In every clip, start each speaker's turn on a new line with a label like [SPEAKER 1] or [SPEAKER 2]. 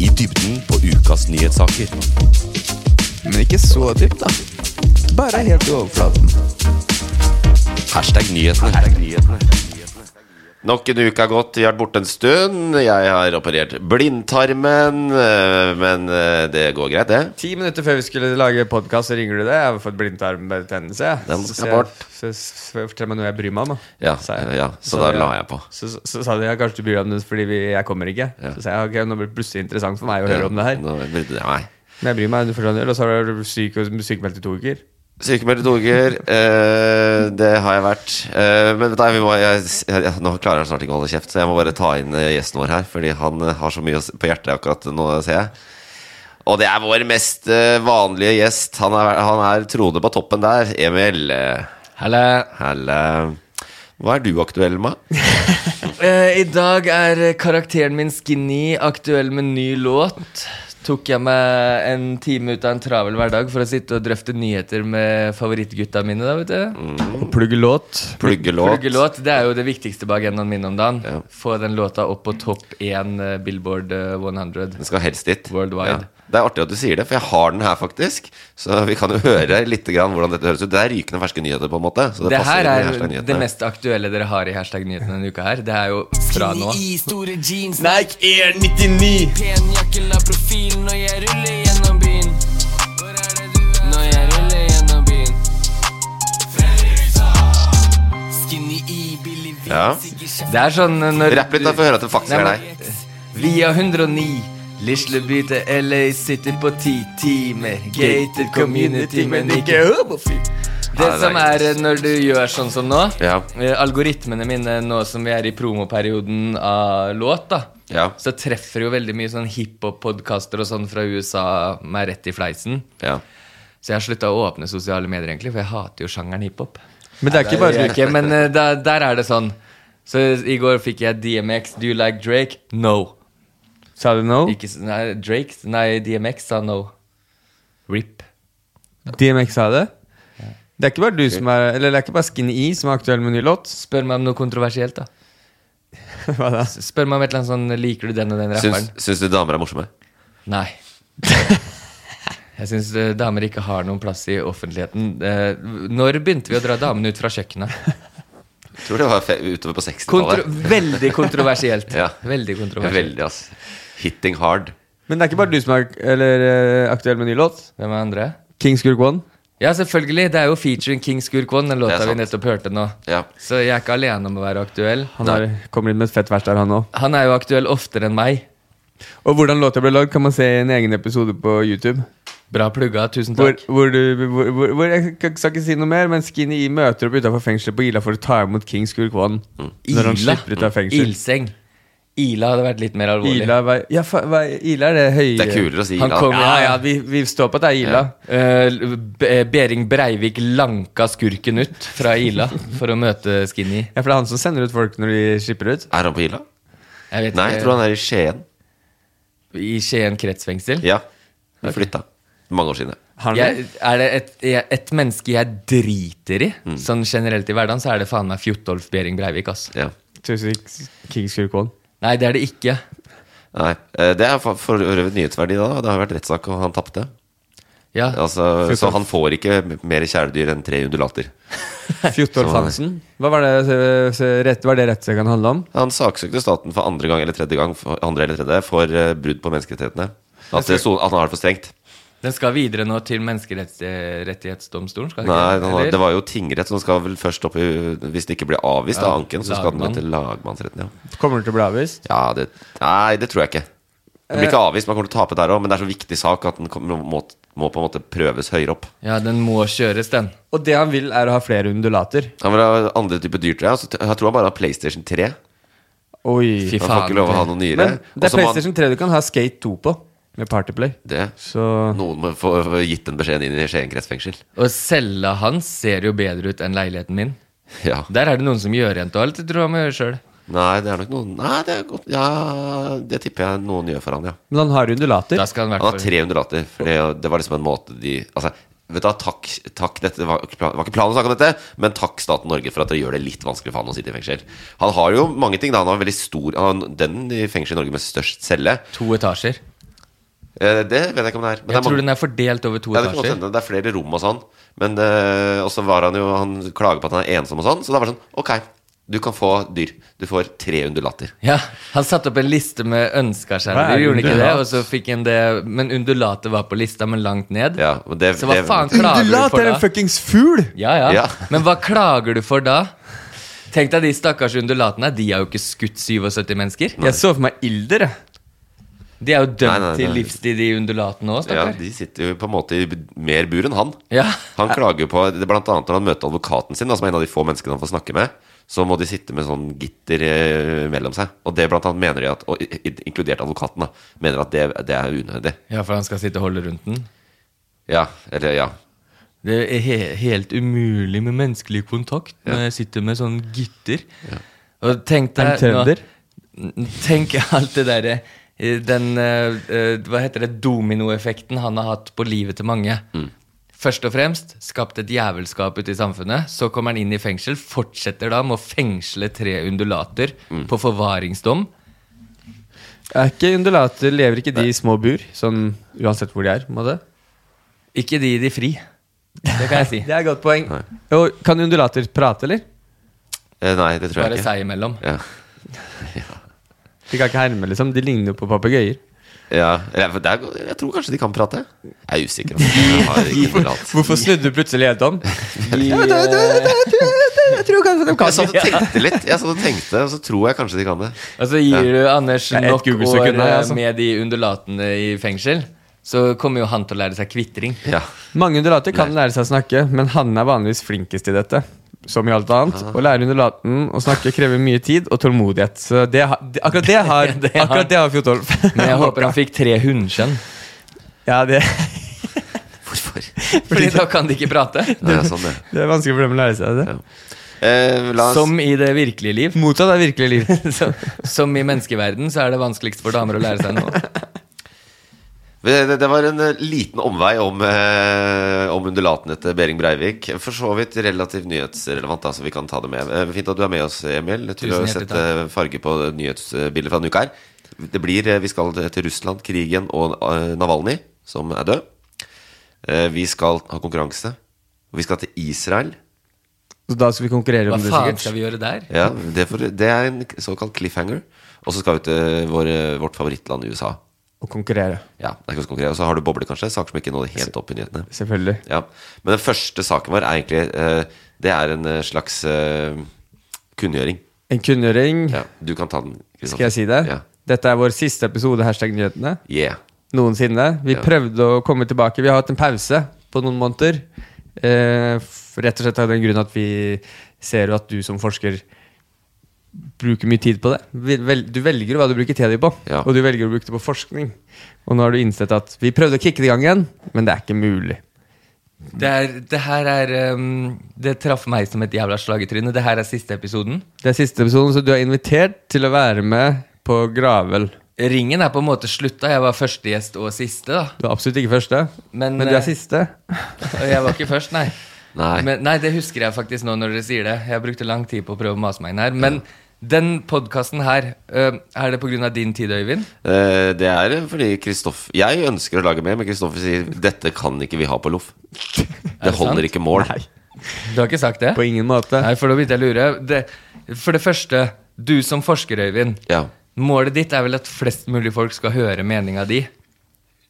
[SPEAKER 1] I dybden på ukas nyhetssaker.
[SPEAKER 2] Men ikke så dypt, da. Bare helt i overflaten.
[SPEAKER 1] Hashtag nyhetene.
[SPEAKER 3] Nok en uke har gått, vi har vært borte en stund. Jeg har operert blindtarmen, øh, men øh, det går greit, det.
[SPEAKER 2] Ti minutter før vi skulle lage podkast, ringer du det. Jeg har fått blindtarmbetennelse. jeg.
[SPEAKER 3] Den
[SPEAKER 2] Så
[SPEAKER 3] skal
[SPEAKER 2] sier jeg-
[SPEAKER 3] bort.
[SPEAKER 2] Så s- fortell meg noe jeg bryr meg om. da.
[SPEAKER 3] Ja,
[SPEAKER 2] Sa jeg.
[SPEAKER 3] ja, så
[SPEAKER 2] sa
[SPEAKER 3] da la jeg på.
[SPEAKER 2] Så, så, så sa de ja, kanskje du bryr deg om det fordi vi, jeg kommer ikke. Så sa jeg ok, nå blir det plutselig interessant for meg å høre om det her.
[SPEAKER 3] Nå, nei.
[SPEAKER 2] Men jeg bryr meg, du forstår det, og så har du syk, sykemeldt i to uker.
[SPEAKER 3] Sykemeldt i to uker. eh, det har jeg vært. Eh, men nei, vi må, jeg, jeg, nå klarer jeg snart ikke å holde kjeft, så jeg må bare ta inn eh, gjesten vår her. Fordi han eh, har så mye å s- på hjertet akkurat nå, ser jeg. Og det er vår mest eh, vanlige gjest. Han er, han er Trode på toppen der. Emil. Helle. Helle. Hva er du aktuell med?
[SPEAKER 4] Eh, I dag er karakteren min Skinny aktuell med ny låt. Tok jeg meg en time ut av en travel hverdag for å sitte og drøfte nyheter med favorittgutta mine. da, vet du
[SPEAKER 3] Mm.
[SPEAKER 2] Plugg låt.
[SPEAKER 3] Pluggelåt.
[SPEAKER 4] Plugge låt, Det er jo det viktigste på agendaen min om dagen.
[SPEAKER 3] Ja.
[SPEAKER 4] Få den låta opp på topp én eh, Billboard eh, 100.
[SPEAKER 3] Den skal helst dit.
[SPEAKER 4] Worldwide.
[SPEAKER 3] Det er artig at du sier det, for jeg har den her, faktisk. Så vi kan jo høre litt grann hvordan dette høres ut. Det er rykende ferske nyheter, på en måte. Så det,
[SPEAKER 4] Det
[SPEAKER 3] passer
[SPEAKER 4] her
[SPEAKER 3] inn i
[SPEAKER 4] er
[SPEAKER 3] hashtag-nyhetene.
[SPEAKER 4] det mest aktuelle dere har i hashtag nyhetene denne uka her. Det er jo fra nå.
[SPEAKER 5] I store jeans,
[SPEAKER 4] Nike Air 99.
[SPEAKER 5] pen jakke, la profil når jeg ruller gjennom byen. Når jeg ruller gjennom byen. Skinny E, i billig hvit,
[SPEAKER 3] Ja.
[SPEAKER 5] sikkert
[SPEAKER 4] Det er sånn eh, når
[SPEAKER 3] Rapp litt, da, for å høre at det faktisk
[SPEAKER 4] Nei,
[SPEAKER 3] er
[SPEAKER 4] men- eh,
[SPEAKER 3] deg.
[SPEAKER 4] Via 109 Lisleby til LA City på ti timer Gated community, men ikke homofil
[SPEAKER 3] Ja,
[SPEAKER 4] Det
[SPEAKER 3] det er
[SPEAKER 4] som er eh, når du gjør sånn som nå
[SPEAKER 3] Ja.
[SPEAKER 4] eh, Algoritmene mine nå som vi er i promoperioden av låt da
[SPEAKER 3] Ja.
[SPEAKER 4] Så treffer jo veldig mye sånn hiphop-podcaster og sånn fra USA meg rett i fleisen
[SPEAKER 3] ja.
[SPEAKER 4] Så jeg har sluttet å åpne sosiale medier egentlig For jeg hater jo sjangeren hiphop
[SPEAKER 2] Men det er ikke
[SPEAKER 4] det gjør
[SPEAKER 2] bare
[SPEAKER 4] jeg ikke, men eh, da, der er det sånn Så i går fikk jeg DMX Do you like Drake? No
[SPEAKER 2] Sa du no?
[SPEAKER 4] ikke, s- nei, Drake Nei, DMX sa no. RIP.
[SPEAKER 2] DMX sa det? Det er ikke bare du som er Eller det er ikke bare Skinny E som er aktuell med ny låt.
[SPEAKER 4] Spør meg om noe kontroversielt, da.
[SPEAKER 2] Hva da?
[SPEAKER 4] S- Spør meg om et eller annet sånn Liker du den og den rapperen?
[SPEAKER 3] Syns, syns du damer er morsomme?
[SPEAKER 4] Nei. Jeg syns eh, damer ikke har noen plass i offentligheten. Eh, Når begynte vi å dra damene ut fra kjøkkenet?
[SPEAKER 3] Tror det var fe utover på
[SPEAKER 4] Kontro
[SPEAKER 3] 60-tallet.
[SPEAKER 4] veldig kontroversielt.
[SPEAKER 3] Ja.
[SPEAKER 4] Veldig kontroversielt.
[SPEAKER 3] Veldig, ass. Hitting hard.
[SPEAKER 2] Men det er ikke bare du som er eller, eh, aktuell med ny låt.
[SPEAKER 4] Hvem er andre?
[SPEAKER 2] Kings Gurk One.
[SPEAKER 4] Ja, selvfølgelig. Det er jo featuring King Skurk One, den
[SPEAKER 3] Det
[SPEAKER 4] låta
[SPEAKER 3] er
[SPEAKER 4] vi
[SPEAKER 3] sant.
[SPEAKER 4] nettopp hørte nå.
[SPEAKER 3] Ja.
[SPEAKER 4] Så jeg er ikke alene om å være aktuell.
[SPEAKER 2] Han har, kommer inn med et fett vers der, han òg.
[SPEAKER 4] Han er jo aktuell oftere enn meg.
[SPEAKER 2] Og hvordan låta ble lagd, kan man se i en egen episode på YouTube.
[SPEAKER 4] Bra plugga, tusen
[SPEAKER 2] Hvor,
[SPEAKER 4] takk.
[SPEAKER 2] hvor du hvor, hvor, hvor, Jeg skal skal ikke si noe mer, men Skinny E møter opp utafor fengselet på Ila for å ta imot Kings Gurk One. Når han
[SPEAKER 4] Mm. Ila?
[SPEAKER 2] slipper ut av fengsel.
[SPEAKER 4] Ilseng. Ila hadde vært litt mer alvorlig.
[SPEAKER 2] Ila, hva, ja, fa, hva, Ila er det høye
[SPEAKER 3] Det er kulere å si
[SPEAKER 4] Han
[SPEAKER 3] Ila.
[SPEAKER 4] kom-
[SPEAKER 2] Ja, ja, vi, vi står på at det er Ila.
[SPEAKER 4] Eh, B- Bering Breivik lanka skurken ut fra Ila for å møte Skinny.
[SPEAKER 2] Ja, for det er han som sender ut folk når de slipper ut.
[SPEAKER 3] Er han på Ila?
[SPEAKER 4] Jeg vet
[SPEAKER 3] Nei, jeg tror
[SPEAKER 4] ikke,
[SPEAKER 3] han er i Skien.
[SPEAKER 4] I Skien kretsfengsel.
[SPEAKER 3] Ja. Vi flytta. Mange år siden. ja.
[SPEAKER 2] Har han
[SPEAKER 4] Jeg, er det et, jeg- et menneske jeg driter i,
[SPEAKER 3] Mm.
[SPEAKER 4] sånn generelt i hverdagen, så er det faen meg Fjotolf Bering Breivik, ass.
[SPEAKER 3] Ja.
[SPEAKER 2] Tusen Kings Gurk One.
[SPEAKER 4] Nei, det er det ikke.
[SPEAKER 3] Nei. eh, Det er for for øvrig nyhetsverdi da. Det har vært rettssak, og han tapte.
[SPEAKER 4] Ja.
[SPEAKER 3] Altså, så han får ikke mer kjæledyr enn tre undulater.
[SPEAKER 2] Fjortolfansen. Hva var det, se- se- rett, var det rettssaken handla om?
[SPEAKER 3] Han saksøkte staten for andre gang eller tredje gang for, andre eller tredje, for eh, brudd på menneskerettighetene. At, det so- at han har det for strengt.
[SPEAKER 4] Den skal videre nå til menneskerettighetsdomstolen? skal den
[SPEAKER 3] Nei, han,
[SPEAKER 4] ikke?
[SPEAKER 3] har-
[SPEAKER 4] Eller?
[SPEAKER 3] Det var jo tingrett som skal vel først opp i Hvis det ikke blir avvist av anken, så skal den gå
[SPEAKER 4] lagmann.
[SPEAKER 3] til lagmannsretten. Ja.
[SPEAKER 2] Kommer det til å bli avvist?
[SPEAKER 3] Ja, det, nei, det tror jeg ikke. Den blir ikke
[SPEAKER 4] Eh.
[SPEAKER 3] avvist, man kommer til å tape der òg, men det er så viktig sak at den kommer- må, må på en måte prøves høyere opp.
[SPEAKER 4] Ja, den må kjøres, den.
[SPEAKER 2] Og det han vil, er å ha flere undulater.
[SPEAKER 3] Han vil ha andre typer dyr, tror jeg. og så t- Jeg tror han bare har PlayStation 3.
[SPEAKER 2] Oi.
[SPEAKER 4] Fy
[SPEAKER 3] Han får
[SPEAKER 4] faen.
[SPEAKER 3] ikke lov å ha noen nyere.
[SPEAKER 2] Men
[SPEAKER 3] Og
[SPEAKER 2] det er
[SPEAKER 3] så må han-
[SPEAKER 2] PlayStation 3 du kan ha Skate 2 på, med Partyplay.
[SPEAKER 3] det.
[SPEAKER 2] Så
[SPEAKER 3] Noen må få få gitt den beskjeden inn i Skien kretsfengsel.
[SPEAKER 4] Og cella hans ser jo bedre ut enn leiligheten min.
[SPEAKER 3] Ja.
[SPEAKER 4] Der er det noen som gjør igjen til alt, det tror jeg må gjøre sjøl.
[SPEAKER 3] Nei, det er nok noen Nei, det er godt Ja, det tipper jeg noen gjør for han, ja.
[SPEAKER 2] Men han har undulater.
[SPEAKER 4] Da skal han i
[SPEAKER 3] Han har
[SPEAKER 4] hvert fall
[SPEAKER 3] 300 latter, for det, det var liksom en måte de Altså, vet du hva, takk, takk dette var, ikke plan- var ikke planen å snakke om dette, men takk staten Norge for at dere gjør det litt vanskelig for han å sitte i fengsel. Han har jo mange ting, da. Han har veldig stor Han har den i fengsel i Norge med størst celle.
[SPEAKER 4] to etasjer.
[SPEAKER 3] Eh, Det vet jeg ikke om det er. Men det
[SPEAKER 4] Jeg
[SPEAKER 3] er mange-
[SPEAKER 4] tror den er fordelt over to
[SPEAKER 3] Ja, det, kan godt
[SPEAKER 4] etasjer.
[SPEAKER 3] hende. det er flere rom og sånn. Men eh, også var han jo Han klager på at han er ensom og sånn. Så det var det sånn Ok, du kan få dyr. Du får tre undulater.
[SPEAKER 4] Ja, Han satte opp en liste med
[SPEAKER 2] Hva
[SPEAKER 4] ønska
[SPEAKER 2] er
[SPEAKER 4] skjermer, gjorde han ikke det?
[SPEAKER 2] undulat?
[SPEAKER 4] Og så fikk han det Men undulatet var på lista, men langt ned.
[SPEAKER 3] Ja, og det,
[SPEAKER 4] Så hva
[SPEAKER 3] det-
[SPEAKER 4] faen klager du
[SPEAKER 2] Undulat
[SPEAKER 4] for
[SPEAKER 2] er
[SPEAKER 4] da?
[SPEAKER 2] en fuckings fugl!
[SPEAKER 4] Ja, ja.
[SPEAKER 3] Ja.
[SPEAKER 4] Men hva klager du for da? Tenk deg de stakkars undulatene. De har jo ikke skutt 77 mennesker.
[SPEAKER 2] Jeg så for meg ilder, jeg.
[SPEAKER 4] De er jo dømt
[SPEAKER 3] Nei, nei,
[SPEAKER 4] til
[SPEAKER 3] nei.
[SPEAKER 4] livstid, de undulatene òg,
[SPEAKER 3] Ja,
[SPEAKER 4] stakkar.
[SPEAKER 3] de sitter jo på en måte i mer bur enn han.
[SPEAKER 4] Ja.
[SPEAKER 3] Han klager jo på det er Blant annet når han møter advokaten sin, da, som er en av de få menneskene han får snakke med, så må de sitte med sånn gitter eh, mellom seg. Og det blant annet mener de at Og i- i- inkludert advokaten, da. Mener at det, det er unødig.
[SPEAKER 4] Ja, for han skal sitte og holde rundt den.
[SPEAKER 3] Ja. Eller ja.
[SPEAKER 4] Det er he helt umulig med menneskelig kontakt når jeg sitter med sånn gitter. Og tenk
[SPEAKER 2] Er han
[SPEAKER 4] deg nå-
[SPEAKER 2] trønder?
[SPEAKER 4] N- Tenk alt det derre eh, Den eh, eh, Hva heter det? Dominoeffekten han har hatt på livet til mange.
[SPEAKER 2] Mm.
[SPEAKER 4] Først og fremst skapt et jævelskap ute i samfunnet. Så kommer han inn i fengsel, fortsetter da med å fengsle tre undulater
[SPEAKER 2] Mm.
[SPEAKER 4] på forvaringsdom.
[SPEAKER 2] Er ikke undulater Lever ikke de i små bur? Sånn uansett hvor de er? på en måte?
[SPEAKER 4] Ikke de i de fri. Det kan jeg si.
[SPEAKER 2] Det er et godt poeng. Og kan undulater prate, eller?
[SPEAKER 3] Eh, Nei, det tror jeg
[SPEAKER 4] Bare
[SPEAKER 3] ikke.
[SPEAKER 4] seg imellom.
[SPEAKER 3] Ja.
[SPEAKER 2] De kan ikke herme, liksom. De ligner jo på papegøyer.
[SPEAKER 3] Ja, eller, for det er, jeg tror kanskje de kan prate. Jeg er usikker. om Jeg har ikke moral.
[SPEAKER 2] Hvorfor snudde du plutselig helt om? Jeg tror kanskje de
[SPEAKER 3] Jeg satt og tenkte litt, Jeg satt og tenkte, og så tror jeg kanskje de kan det.
[SPEAKER 4] Og så gir du Anders
[SPEAKER 2] er et
[SPEAKER 4] nok
[SPEAKER 2] Google-søk
[SPEAKER 4] år eh,
[SPEAKER 2] unna, jeg, altså.
[SPEAKER 4] med de undulatene i fengsel, så kommer jo han til å lære seg kvitring.
[SPEAKER 3] Ja,
[SPEAKER 2] Mange undulater kan lære seg å snakke, men hannen er vanligvis flinkest i dette. Som i alt annet. Å lære undulaten å snakke krever mye tid og tålmodighet. Så det har, det- akkurat det har,
[SPEAKER 4] Det har-
[SPEAKER 2] akkurat det har Fjotolf.
[SPEAKER 4] Men jeg håper han fikk tre hundskjønn,
[SPEAKER 2] Ja, det,
[SPEAKER 3] Hvorfor?
[SPEAKER 4] Fordi da kan de ikke prate.
[SPEAKER 3] Nei, det er sånn, det.
[SPEAKER 2] det er vanskelig for dem å lære seg det.
[SPEAKER 3] Ja. Eh, la oss,
[SPEAKER 4] Som i det virkelige liv.
[SPEAKER 2] Motsatt av virkelig liv.
[SPEAKER 4] Så, som i menneskeverden så er det vanskeligst for damer å lære seg noe.
[SPEAKER 3] det, det var en eh, liten omvei om, eh, om undulatene til Behring Breivik. For så vidt relativt nyhetsrelevant, da, så vi kan ta det med. Eh, Fint at du er med oss, Emil. Jeg tror
[SPEAKER 4] Tusen
[SPEAKER 3] du har
[SPEAKER 4] hjertelig
[SPEAKER 3] sett eh, farge på nyhetsbildet fra denne uka her. Det blir, eh, Vi skal til Russland, krigen og eh, Navalny, som er død. Eh, Vi skal ha konkurranse. Og vi skal til Israel.
[SPEAKER 2] Så da skal vi konkurrere
[SPEAKER 4] Hva
[SPEAKER 2] om det,
[SPEAKER 4] faen
[SPEAKER 2] sikkert.
[SPEAKER 4] skal vi gjøre der?
[SPEAKER 3] Ja, det, får- det er en såkalt cliffhanger. Og så skal vi til vår, vårt favorittland USA.
[SPEAKER 2] Å konkurrere.
[SPEAKER 3] Ja, det er ikke så konkret. Og så har du boble, kanskje. Saker som ikke nådde helt opp i nyhetene.
[SPEAKER 2] Selvfølgelig.
[SPEAKER 3] Ja. Men den første saken vår er egentlig eh, Det er en eh, slags eh, kunngjøring.
[SPEAKER 2] En kunngjøring.
[SPEAKER 3] Ja, du kan ta den. Kristiansen.
[SPEAKER 2] Skal jeg si det?
[SPEAKER 3] Ja.
[SPEAKER 2] Dette er vår siste episode hashtag nyhetene
[SPEAKER 3] Yeah.
[SPEAKER 2] noensinne. Vi
[SPEAKER 3] Ja.
[SPEAKER 2] prøvde å komme tilbake. Vi har hatt en pause på noen måneder. Eh, f- rett og slett av den grunn at vi ser jo at du som forsker bruker mye tid på det. Vel- vel- Du velger jo hva du bruker tida di på,
[SPEAKER 3] Ja.
[SPEAKER 2] og du velger å bruke det på forskning. Og nå har du innsett at vi prøvde å kicke det i gang igjen, men det er ikke mulig.
[SPEAKER 4] Det, er, det her er ehm, Det traff meg som et jævla slag i trynet. Det her er siste episoden.
[SPEAKER 2] Det er siste episoden, så du er invitert til å være med på Gravel.
[SPEAKER 4] Ringen er på en måte slutta. Jeg var første gjest og siste, da.
[SPEAKER 2] Du er absolutt ikke første,
[SPEAKER 4] Men,
[SPEAKER 2] men du
[SPEAKER 4] eh,
[SPEAKER 2] er siste.
[SPEAKER 4] Og jeg var ikke først, nei.
[SPEAKER 3] Nei.
[SPEAKER 4] Men, nei, det husker jeg faktisk nå når dere sier det. Jeg brukte lang tid på å prøve å mase meg inn her. Men Den podkasten her, eh, er det pga. din tid, Øyvind?
[SPEAKER 3] Eh, Det er fordi Kristoffer Jeg ønsker å lage mer, men Kristoffer sier dette kan ikke vi ha på loff. Det holder ikke mål.
[SPEAKER 4] Du har ikke sagt det?
[SPEAKER 2] På ingen måte.
[SPEAKER 4] Nei, for da begynte jeg å lure. Det, for det første, du som forsker, Øyvind.
[SPEAKER 3] Ja.
[SPEAKER 4] Målet ditt er vel at flest mulig folk skal høre meninga di?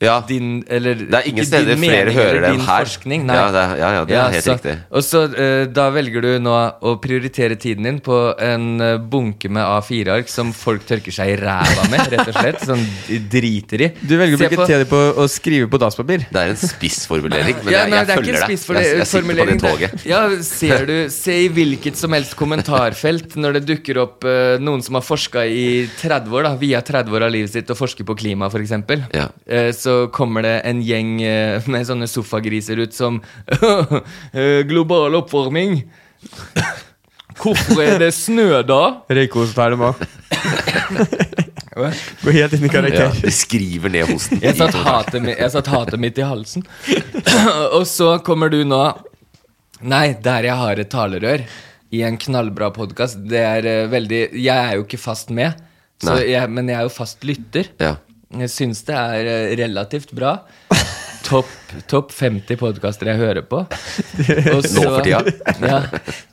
[SPEAKER 3] ja.
[SPEAKER 4] Din, eller,
[SPEAKER 3] Det er ingen
[SPEAKER 4] ikke
[SPEAKER 3] steder
[SPEAKER 4] din
[SPEAKER 3] flere
[SPEAKER 4] mening
[SPEAKER 3] hører
[SPEAKER 4] eller
[SPEAKER 3] den
[SPEAKER 4] din
[SPEAKER 3] her.
[SPEAKER 4] Forskning, nei.
[SPEAKER 3] Ja, det er- ja, ja, det er helt
[SPEAKER 4] så,
[SPEAKER 3] riktig.
[SPEAKER 4] Og så eh, da velger du nå å prioritere tiden din på en eh, bunke med A4-ark som folk tørker seg i ræva med, rett og slett. Som de driter i.
[SPEAKER 2] Du velger å
[SPEAKER 4] Se
[SPEAKER 2] bruke
[SPEAKER 4] på-
[SPEAKER 2] tida di på å skrive på dasspapir.
[SPEAKER 3] Det er en spissformulering, men
[SPEAKER 4] Ja,
[SPEAKER 3] jeg,
[SPEAKER 4] nei,
[SPEAKER 3] jeg
[SPEAKER 4] det er ikke
[SPEAKER 3] følger
[SPEAKER 4] en
[SPEAKER 3] deg.
[SPEAKER 4] spissformulering.
[SPEAKER 3] Jeg, jeg sitter på det toget.
[SPEAKER 4] Ja, ser du, Se i hvilket som helst kommentarfelt når det dukker opp eh, noen som har forska i 30 år, da, via 30 år av livet sitt, og forsker på klima, f.eks.
[SPEAKER 3] Ja.
[SPEAKER 4] Eh, så kommer det en gjeng eh, med sånne sofagriser ut som eh, Global oppvarming. Hvorfor er det snø, da?
[SPEAKER 2] Røykost tar dem òg. Gå helt inn i
[SPEAKER 3] Ja,
[SPEAKER 2] karakter.
[SPEAKER 3] de skriver ned hosten.
[SPEAKER 4] Jeg
[SPEAKER 3] i
[SPEAKER 4] satt,
[SPEAKER 3] kommentaren.
[SPEAKER 4] hatet, mi- jeg satt hatet mitt i halsen. Og så kommer du nå Nei, der jeg har et talerør i en knallbra podkast, det er eh, veldig Jeg er jo ikke fast med, så
[SPEAKER 3] Nei.
[SPEAKER 4] jeg, men jeg er jo fast lytter.
[SPEAKER 3] Ja.
[SPEAKER 4] Jeg syns det er eh, relativt bra. Topp topp 50 podkaster jeg hører på. Og
[SPEAKER 3] for tida.
[SPEAKER 4] Ja,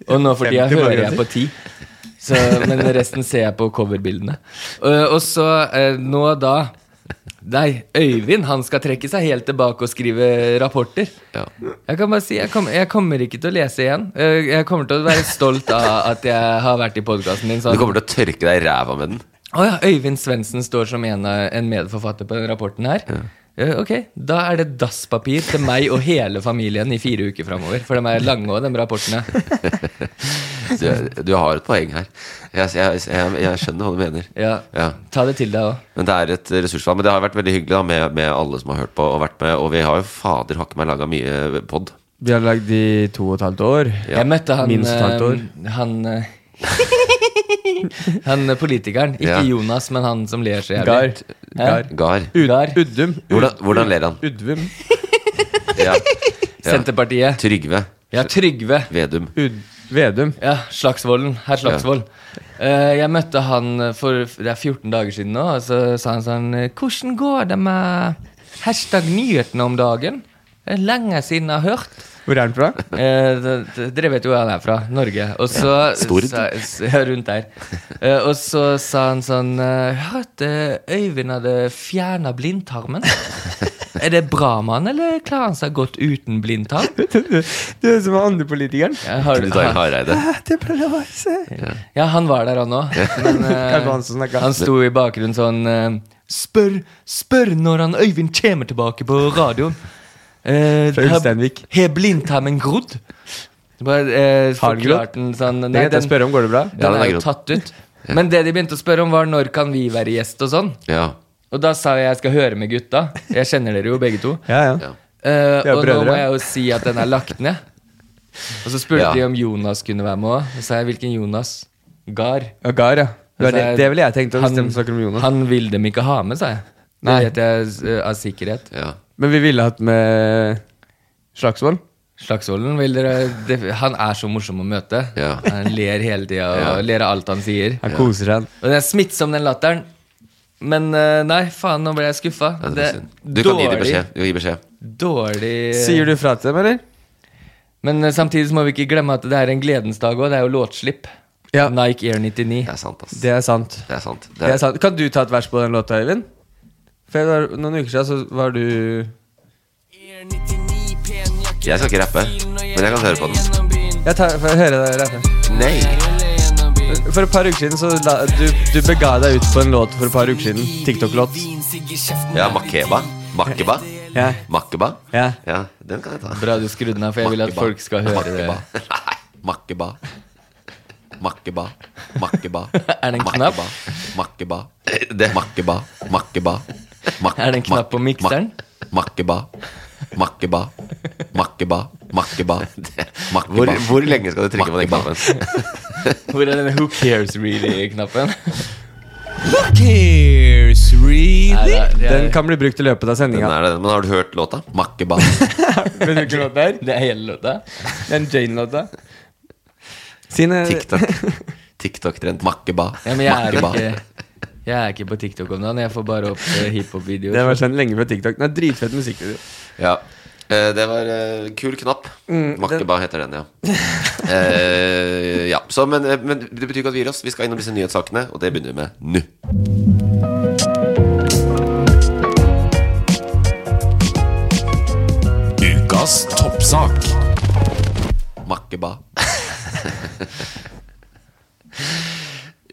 [SPEAKER 4] og nå for tida
[SPEAKER 2] 50
[SPEAKER 4] hører jeg
[SPEAKER 2] podcaster.
[SPEAKER 4] på 10. Så, men resten ser jeg på coverbildene. Eh, og så eh, nå da Nei, Øyvind han skal trekke seg helt tilbake og skrive rapporter.
[SPEAKER 3] Ja.
[SPEAKER 4] Jeg kan bare si, jeg, kom, jeg kommer ikke til å lese igjen. Eh, jeg kommer til å være stolt av at jeg har vært i podkasten din.
[SPEAKER 3] Du
[SPEAKER 4] Sånn.
[SPEAKER 3] kommer til å tørke deg i ræva med den.
[SPEAKER 4] Å ja, Øyvind Svendsen står som en, av- en medforfatter på den rapporten her. Eh, ok, Da er det dasspapir til meg og hele familien i fire uker framover. For de er lange òg, de rapportene.
[SPEAKER 3] Du, du har et poeng her. Jeg, jeg, jeg, jeg skjønner hva du mener.
[SPEAKER 4] Ja,
[SPEAKER 3] Ja.
[SPEAKER 4] Ta det til deg òg.
[SPEAKER 3] Men det er et ressursfall. Men det har vært veldig hyggelig da med, med alle som har hørt på og vært med. Og vi har jo fader hakke meg laga mye pod.
[SPEAKER 2] Vi har lagd i to og et halvt år.
[SPEAKER 3] Ja.
[SPEAKER 4] Jeg møtte han
[SPEAKER 2] Minst et halvt år.
[SPEAKER 4] eh, Han, eh, han eh, politikeren. Ikke
[SPEAKER 3] Ja.
[SPEAKER 4] Jonas, men han som ler så
[SPEAKER 2] Gar.
[SPEAKER 4] jævlig.
[SPEAKER 2] Gar.
[SPEAKER 3] Gar.
[SPEAKER 2] Ud-
[SPEAKER 4] Gar.
[SPEAKER 2] Uddum.
[SPEAKER 3] Hvordan, hvordan ler han?
[SPEAKER 2] Udvum.
[SPEAKER 3] Ja. Ja.
[SPEAKER 4] Senterpartiet.
[SPEAKER 3] Trygve
[SPEAKER 4] Ja, Trygve.
[SPEAKER 3] Vedum.
[SPEAKER 2] Ud Vedum.
[SPEAKER 4] Ja, Slagsvolden. Herr Slagsvold. Eh, jeg møtte han for det er 14 dager siden nå, og så sa han sånn Hvordan går det med hashtag nyhetene om dagen? Det er lenge siden jeg har hørt.
[SPEAKER 2] Hvor er han fra?
[SPEAKER 4] Eh, d- d- dere vet jo hvor han er fra. Norge. Og så
[SPEAKER 3] Stord.
[SPEAKER 4] sa- s- ja, Rundt der. Eh, og så sa han sånn eh, Jeg hørte Øyvind hadde fjerna blindtarmen. Er det bra med han, eller klarer han seg godt uten blindtarm?
[SPEAKER 2] Du er som er andre politikeren.
[SPEAKER 4] Jeg har-
[SPEAKER 3] Knut Arild Hareide.
[SPEAKER 2] Ah, Det pleier å være seg.
[SPEAKER 4] Ja, han var der han òg. Men eh,
[SPEAKER 2] Kanskje han som snakket.
[SPEAKER 4] han sto i bakgrunnen sånn eh, Spør, spør når han Øyvind kommer tilbake på radioen. Eh,
[SPEAKER 2] Fra
[SPEAKER 4] har-
[SPEAKER 2] Ulsteinvik.
[SPEAKER 4] Har blindtarmen grodd? Det var, eh,
[SPEAKER 2] Har den grodd?
[SPEAKER 4] forklarte han sånn
[SPEAKER 2] Det
[SPEAKER 4] Nei,
[SPEAKER 2] kan jeg
[SPEAKER 4] den,
[SPEAKER 2] spørre om. Går det bra?
[SPEAKER 3] Ja,
[SPEAKER 4] den
[SPEAKER 3] den
[SPEAKER 4] er
[SPEAKER 3] er
[SPEAKER 4] jo
[SPEAKER 3] grodd.
[SPEAKER 4] tatt ut. Men det de begynte å spørre om, var når kan vi være gjest og sånn.
[SPEAKER 3] Ja.
[SPEAKER 4] Og da sa jeg jeg skal høre med gutta. Jeg kjenner dere jo begge to.
[SPEAKER 2] Ja, ja.
[SPEAKER 3] Ja.
[SPEAKER 4] Eh,
[SPEAKER 2] Vi er
[SPEAKER 4] og nå
[SPEAKER 2] brødre.
[SPEAKER 4] må jeg jo si at den er lagt ned. Og så spurte
[SPEAKER 3] Ja.
[SPEAKER 4] de om Jonas kunne være med òg. Og så sa jeg hvilken Jonas? Gar.
[SPEAKER 2] Ja, Gar, ja. Det,
[SPEAKER 4] Altså,
[SPEAKER 2] er det, det ville jeg tenkt å bestemme snakker om Jonas.
[SPEAKER 4] han vil dem ikke ha med, sa jeg. Det
[SPEAKER 2] Nei.
[SPEAKER 4] vet jeg eh, av sikkerhet.
[SPEAKER 3] ja.
[SPEAKER 2] Men vi ville hatt med Slagsvold.
[SPEAKER 4] Slagsvolden vil dere det, Han er så morsom å møte.
[SPEAKER 3] Ja.
[SPEAKER 4] Han ler hele tida og
[SPEAKER 3] Ja.
[SPEAKER 4] ler av alt han sier.
[SPEAKER 2] Han koser seg.
[SPEAKER 4] Og det er smittsom, den latteren. Men eh, nei, faen, nå ble jeg skuffa.
[SPEAKER 3] ja det er synd. du kan gi dem beskjed. Du kan gi beskjed.
[SPEAKER 4] dårlig
[SPEAKER 2] Sier du fra til dem, eller?
[SPEAKER 4] Men eh, samtidig så må vi ikke glemme at det er en gledens dag òg. Det er jo låtslipp.
[SPEAKER 2] Ja.
[SPEAKER 4] Nike Air 99.
[SPEAKER 3] Det er sant, ass.
[SPEAKER 2] Det er sant.
[SPEAKER 3] Det er sant.
[SPEAKER 2] Det er sant. Kan du ta et vers på den låta, Øyvind? For jeg var, noen uker siden så var du
[SPEAKER 3] Jeg skal ikke rappe, men jeg kan høre på den.
[SPEAKER 2] Jeg tar, får jeg høre deg rappe.
[SPEAKER 3] Nei!
[SPEAKER 2] For et par uker siden så la, du, du bega deg ut på en låt for et par uker siden. TikTok-låt.
[SPEAKER 3] Ja, Makeba. Makeba.
[SPEAKER 2] Ja.
[SPEAKER 3] Makeba.
[SPEAKER 2] Ja.
[SPEAKER 3] Ja, den kan jeg ta.
[SPEAKER 4] Bra du skrudde den av, for jeg vil at
[SPEAKER 3] Makkeba.
[SPEAKER 4] folk skal høre det.
[SPEAKER 3] Makkeba. Nei, Makkeba. Makkeba. Makkeba.
[SPEAKER 4] Er det en knapp?
[SPEAKER 3] Makkeba. Det. Makkeba. Makkeba. Mak-
[SPEAKER 4] Er det en knapp på
[SPEAKER 3] mak-
[SPEAKER 4] mikseren?
[SPEAKER 3] mak- Makkeba. Makkeba. Makkeba. Makkeba. Makkeba. Hvor, lenge skal du trykke på den knappen?
[SPEAKER 4] Hvor er denne Who cares really-knappen? Who cares really?
[SPEAKER 2] Den kan bli brukt i løpet av
[SPEAKER 3] Den
[SPEAKER 2] sendinga.
[SPEAKER 3] er det, men har du hørt låta? Makkeba.
[SPEAKER 2] Vet du hvilken låt det er?
[SPEAKER 4] det er hele låta.
[SPEAKER 2] Den Jane-låta. Sine
[SPEAKER 3] TikTok. TikTok-trend. Makkeba.
[SPEAKER 4] Ja, men jeg er,
[SPEAKER 3] Makkeba.
[SPEAKER 4] ikke, jeg er ikke på TikTok om dagen. Jeg får bare opp eh,
[SPEAKER 2] Det
[SPEAKER 4] hiphop-videoer.
[SPEAKER 2] var kjent lenge før TikTok. Den er dritfett musikkvideo.
[SPEAKER 3] Ja. Eh, Det var eh, kul knapp.
[SPEAKER 2] Mm,
[SPEAKER 3] Makkeba heter den, ja. Eh, ja. Så, men, eh, men det betyr ikke at vi gir oss. Vi skal innom disse nyhetssakene, og det begynner vi med nå.
[SPEAKER 6] Ukas toppsak.
[SPEAKER 3] Makkeba.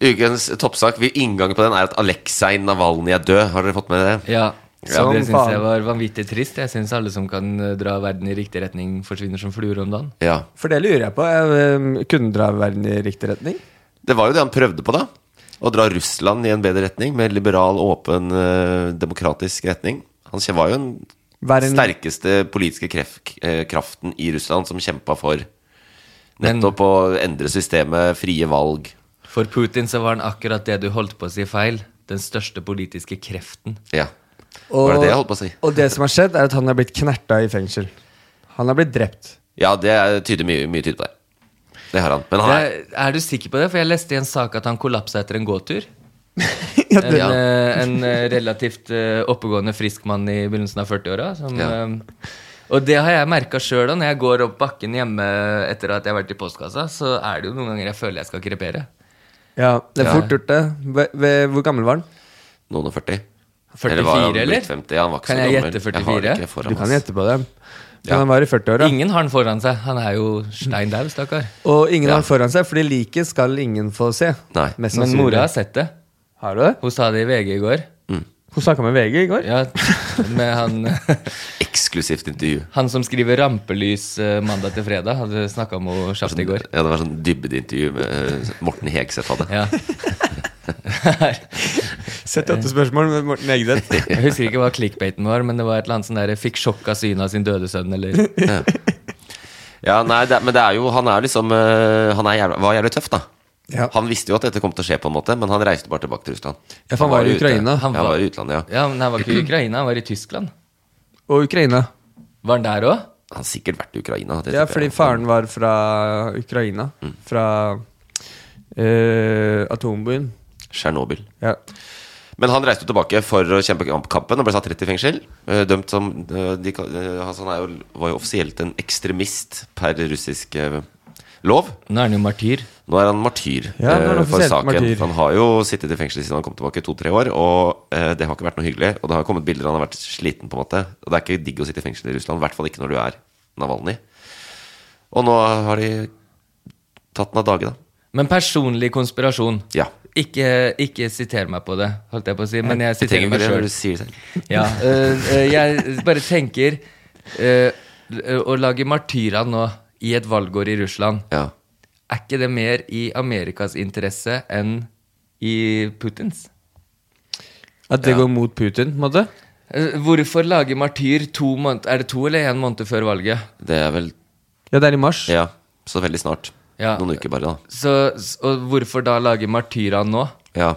[SPEAKER 3] Ukens toppsak. Vi- Inngangen på den er at Aleksej Navalnyj er død. Har dere fått med det?
[SPEAKER 4] Ja, så
[SPEAKER 2] Som
[SPEAKER 4] det syns
[SPEAKER 2] faen.
[SPEAKER 4] jeg var vanvittig trist. Jeg syns alle som kan eh, dra verden i riktig retning, forsvinner som fluer om dagen.
[SPEAKER 3] Ja.
[SPEAKER 2] For det lurer jeg på. Jeg, um, kunne dra verden i riktig retning?
[SPEAKER 3] Det var jo det han prøvde på, da. Å dra Russland i en bedre retning, med liberal, åpen, eh, demokratisk retning. Han kje- var jo den
[SPEAKER 2] Være en-
[SPEAKER 3] sterkeste politiske kref, eh, kraften i Russland som kjempa for nettopp å endre systemet, frie valg.
[SPEAKER 4] For Putin så var han akkurat det du holdt på å si feil. Den største politiske kreften.
[SPEAKER 3] Ja. Var det det jeg holdt på å si?
[SPEAKER 2] Og det som har skjedd, er at han er blitt knerta i fengsel. Han er blitt drept.
[SPEAKER 3] Ja, det er- tyder mye, mye tyder på det. Det har han. Men han er
[SPEAKER 4] Det, er du sikker på det? For jeg leste i en sak at han kollapsa etter en gåtur.
[SPEAKER 2] Ja,
[SPEAKER 4] En,
[SPEAKER 2] det,
[SPEAKER 3] Ja.
[SPEAKER 4] eh, en eh, relativt eh, oppegående, frisk mann i begynnelsen av 40-åra. som,
[SPEAKER 3] Ja.
[SPEAKER 4] eh, Og det har jeg merka sjøl når jeg går opp bakken hjemme etter at jeg har vært i postkassa. Så er det jo noen ganger jeg føler jeg skal krepere.
[SPEAKER 2] ja, det er
[SPEAKER 3] Ja.
[SPEAKER 2] fort gjort, det. Ve- ve- Hvor gammel var han?
[SPEAKER 3] noen og 40.
[SPEAKER 4] 44,
[SPEAKER 3] var han
[SPEAKER 4] eller?
[SPEAKER 3] blitt 50? Han var ikke
[SPEAKER 4] Kan
[SPEAKER 3] så
[SPEAKER 4] jeg
[SPEAKER 3] gammel.
[SPEAKER 4] gjette
[SPEAKER 3] Jeg har det
[SPEAKER 4] 44?
[SPEAKER 3] ikke foran
[SPEAKER 2] Du kan
[SPEAKER 3] oss.
[SPEAKER 2] gjette på det. Men
[SPEAKER 3] Ja.
[SPEAKER 2] han var i 40-åra.
[SPEAKER 4] Ingen har han foran seg. Han er jo stein daud, stakkar.
[SPEAKER 2] Og
[SPEAKER 3] Ja.
[SPEAKER 2] ingen har han foran seg, fordi liket skal ingen få se.
[SPEAKER 3] Nei.
[SPEAKER 2] Mest
[SPEAKER 4] Men
[SPEAKER 2] sannsynlig.
[SPEAKER 4] mora har sett det.
[SPEAKER 2] Har du det?
[SPEAKER 4] Hun sa det i VG i går.
[SPEAKER 2] Hun snakka med VG i går.
[SPEAKER 4] Ja, med han
[SPEAKER 3] Eksklusivt intervju.
[SPEAKER 4] Han som skriver rampelys eh, mandag til fredag, hadde snakka med henne kjapt i går.
[SPEAKER 3] Ja, det var sånn dybdeintervju med eh, Morten Hegseth hadde.
[SPEAKER 4] Ja.
[SPEAKER 2] 78 spørsmål med Morten Egdet.
[SPEAKER 4] Jeg husker ikke hva clickbaiten var, men det var et eller annet sånn der 'fikk sjokk av synet av sin døde sønn', eller
[SPEAKER 3] Ja, nei, det, men det er jo Han er liksom eh, Han er jævla, var jævlig tøff, da.
[SPEAKER 2] Ja.
[SPEAKER 3] Han visste jo at dette kom til å skje, på en måte men han reiste bare tilbake til Russland.
[SPEAKER 2] Ja, for han var i
[SPEAKER 3] ute.
[SPEAKER 2] Ukraina.
[SPEAKER 3] Han var, i utlandet, ja
[SPEAKER 4] Ja, men han var ikke i Ukraina, han var i Tyskland.
[SPEAKER 2] Og Ukraina.
[SPEAKER 4] Var han der òg?
[SPEAKER 3] Han har sikkert vært i Ukraina. det
[SPEAKER 2] Ja,
[SPEAKER 3] tipper
[SPEAKER 2] fordi
[SPEAKER 3] jeg. Mm.
[SPEAKER 2] faren var fra Ukraina. Fra eh, atombyen.
[SPEAKER 3] Tsjernobyl.
[SPEAKER 2] Ja.
[SPEAKER 3] Men han reiste jo tilbake for å kjempe kampen og ble satt rett i fengsel. eh, Dømt som eh, de, kal- eh, altså, Han er jo, var jo offisielt en ekstremist per russisk eh, lov.
[SPEAKER 4] Nå er han jo martyr.
[SPEAKER 3] Nå er han martyr
[SPEAKER 2] Ja, nå er han
[SPEAKER 3] eh, for
[SPEAKER 2] offisielt
[SPEAKER 3] saken.
[SPEAKER 2] martyr.
[SPEAKER 3] For han har jo sittet i fengsel siden han kom tilbake i to-tre år, og eh, det har ikke vært noe hyggelig. Og det har kommet bilder han har vært sliten, på en måte. Og det er ikke digg å sitte i fengsel i Russland, i hvert fall ikke når du er Navalnyj. Og nå har de tatt den av dage, da.
[SPEAKER 4] Men personlig konspirasjon.
[SPEAKER 3] Ja.
[SPEAKER 4] Ikke, ikke siter meg på det, holdt jeg på å si, men jeg
[SPEAKER 3] Vi trenger
[SPEAKER 4] siterer
[SPEAKER 3] ikke
[SPEAKER 4] meg
[SPEAKER 3] det
[SPEAKER 4] sjøl.
[SPEAKER 3] når du sier det selv.
[SPEAKER 4] Ja, øh, øh, jeg bare tenker øh, øh, Å lage martyrer nå i et valgår i Russland
[SPEAKER 3] Ja.
[SPEAKER 4] Er ikke det mer i Amerikas interesse enn i Putins?
[SPEAKER 2] At det går mot Putin, på en måte?
[SPEAKER 4] Eh, Hvorfor lage martyr to måned, er det to eller én måned før valget?
[SPEAKER 3] Det er vel
[SPEAKER 2] Ja, det er i mars.
[SPEAKER 3] Ja, så veldig snart.
[SPEAKER 4] Ja.
[SPEAKER 3] Noen uker bare, da.
[SPEAKER 4] Så, s- og hvorfor da lage martyrer nå?
[SPEAKER 3] Ja.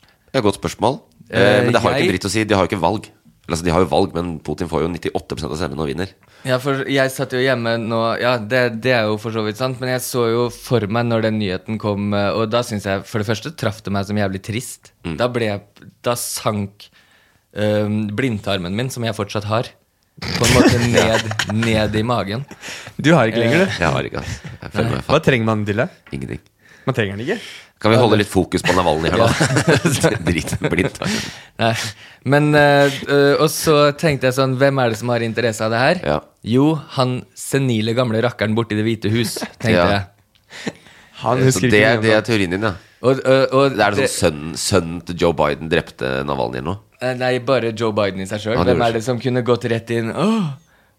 [SPEAKER 3] Det er et godt spørsmål.
[SPEAKER 4] Eh,
[SPEAKER 3] Eh, men det har jo
[SPEAKER 4] jeg-
[SPEAKER 3] ikke dritt å si. De har jo ikke valg. Eller, Altså, de har jo valg, men Putin får jo 98 av stemmene og vinner.
[SPEAKER 4] Ja, for jeg satt jo hjemme nå Ja, det, det er jo for så vidt sant, men jeg så jo for meg når den nyheten kom, eh, og da syns jeg For det første traff det meg som jævlig trist. Da ble jeg Da sank eh, blindtarmen min, som jeg fortsatt har, på en måte ned, ned i magen.
[SPEAKER 2] Du har ikke lenger det.
[SPEAKER 3] Jeg har ikke, altså. Jeg føler meg
[SPEAKER 2] Hva
[SPEAKER 3] faen
[SPEAKER 2] trenger man til det?
[SPEAKER 3] ingenting.
[SPEAKER 2] Man trenger den ikke.
[SPEAKER 3] Kan vi holde litt fokus på Navalnyj her, da? Drit blindt.
[SPEAKER 4] Nei. Men eh, eh, Og så tenkte jeg sånn Hvem er det som har interesse av det her?
[SPEAKER 3] Ja.
[SPEAKER 4] Jo, han senile gamle rakkeren borti Det hvite hus, tenkte
[SPEAKER 3] Ja.
[SPEAKER 4] jeg.
[SPEAKER 2] Han
[SPEAKER 3] Så
[SPEAKER 2] husker
[SPEAKER 3] det, det
[SPEAKER 2] ikke det,
[SPEAKER 3] er teorien din, ja.
[SPEAKER 4] Og, og, og
[SPEAKER 3] Det er det sånn sønnen sønnen til Joe Biden drepte Navalnyj nå?
[SPEAKER 4] Eh, Nei, bare Joe Biden i seg sjøl.
[SPEAKER 3] Han
[SPEAKER 4] Hvem
[SPEAKER 3] gjorde
[SPEAKER 4] er det som kunne gått rett inn Åh,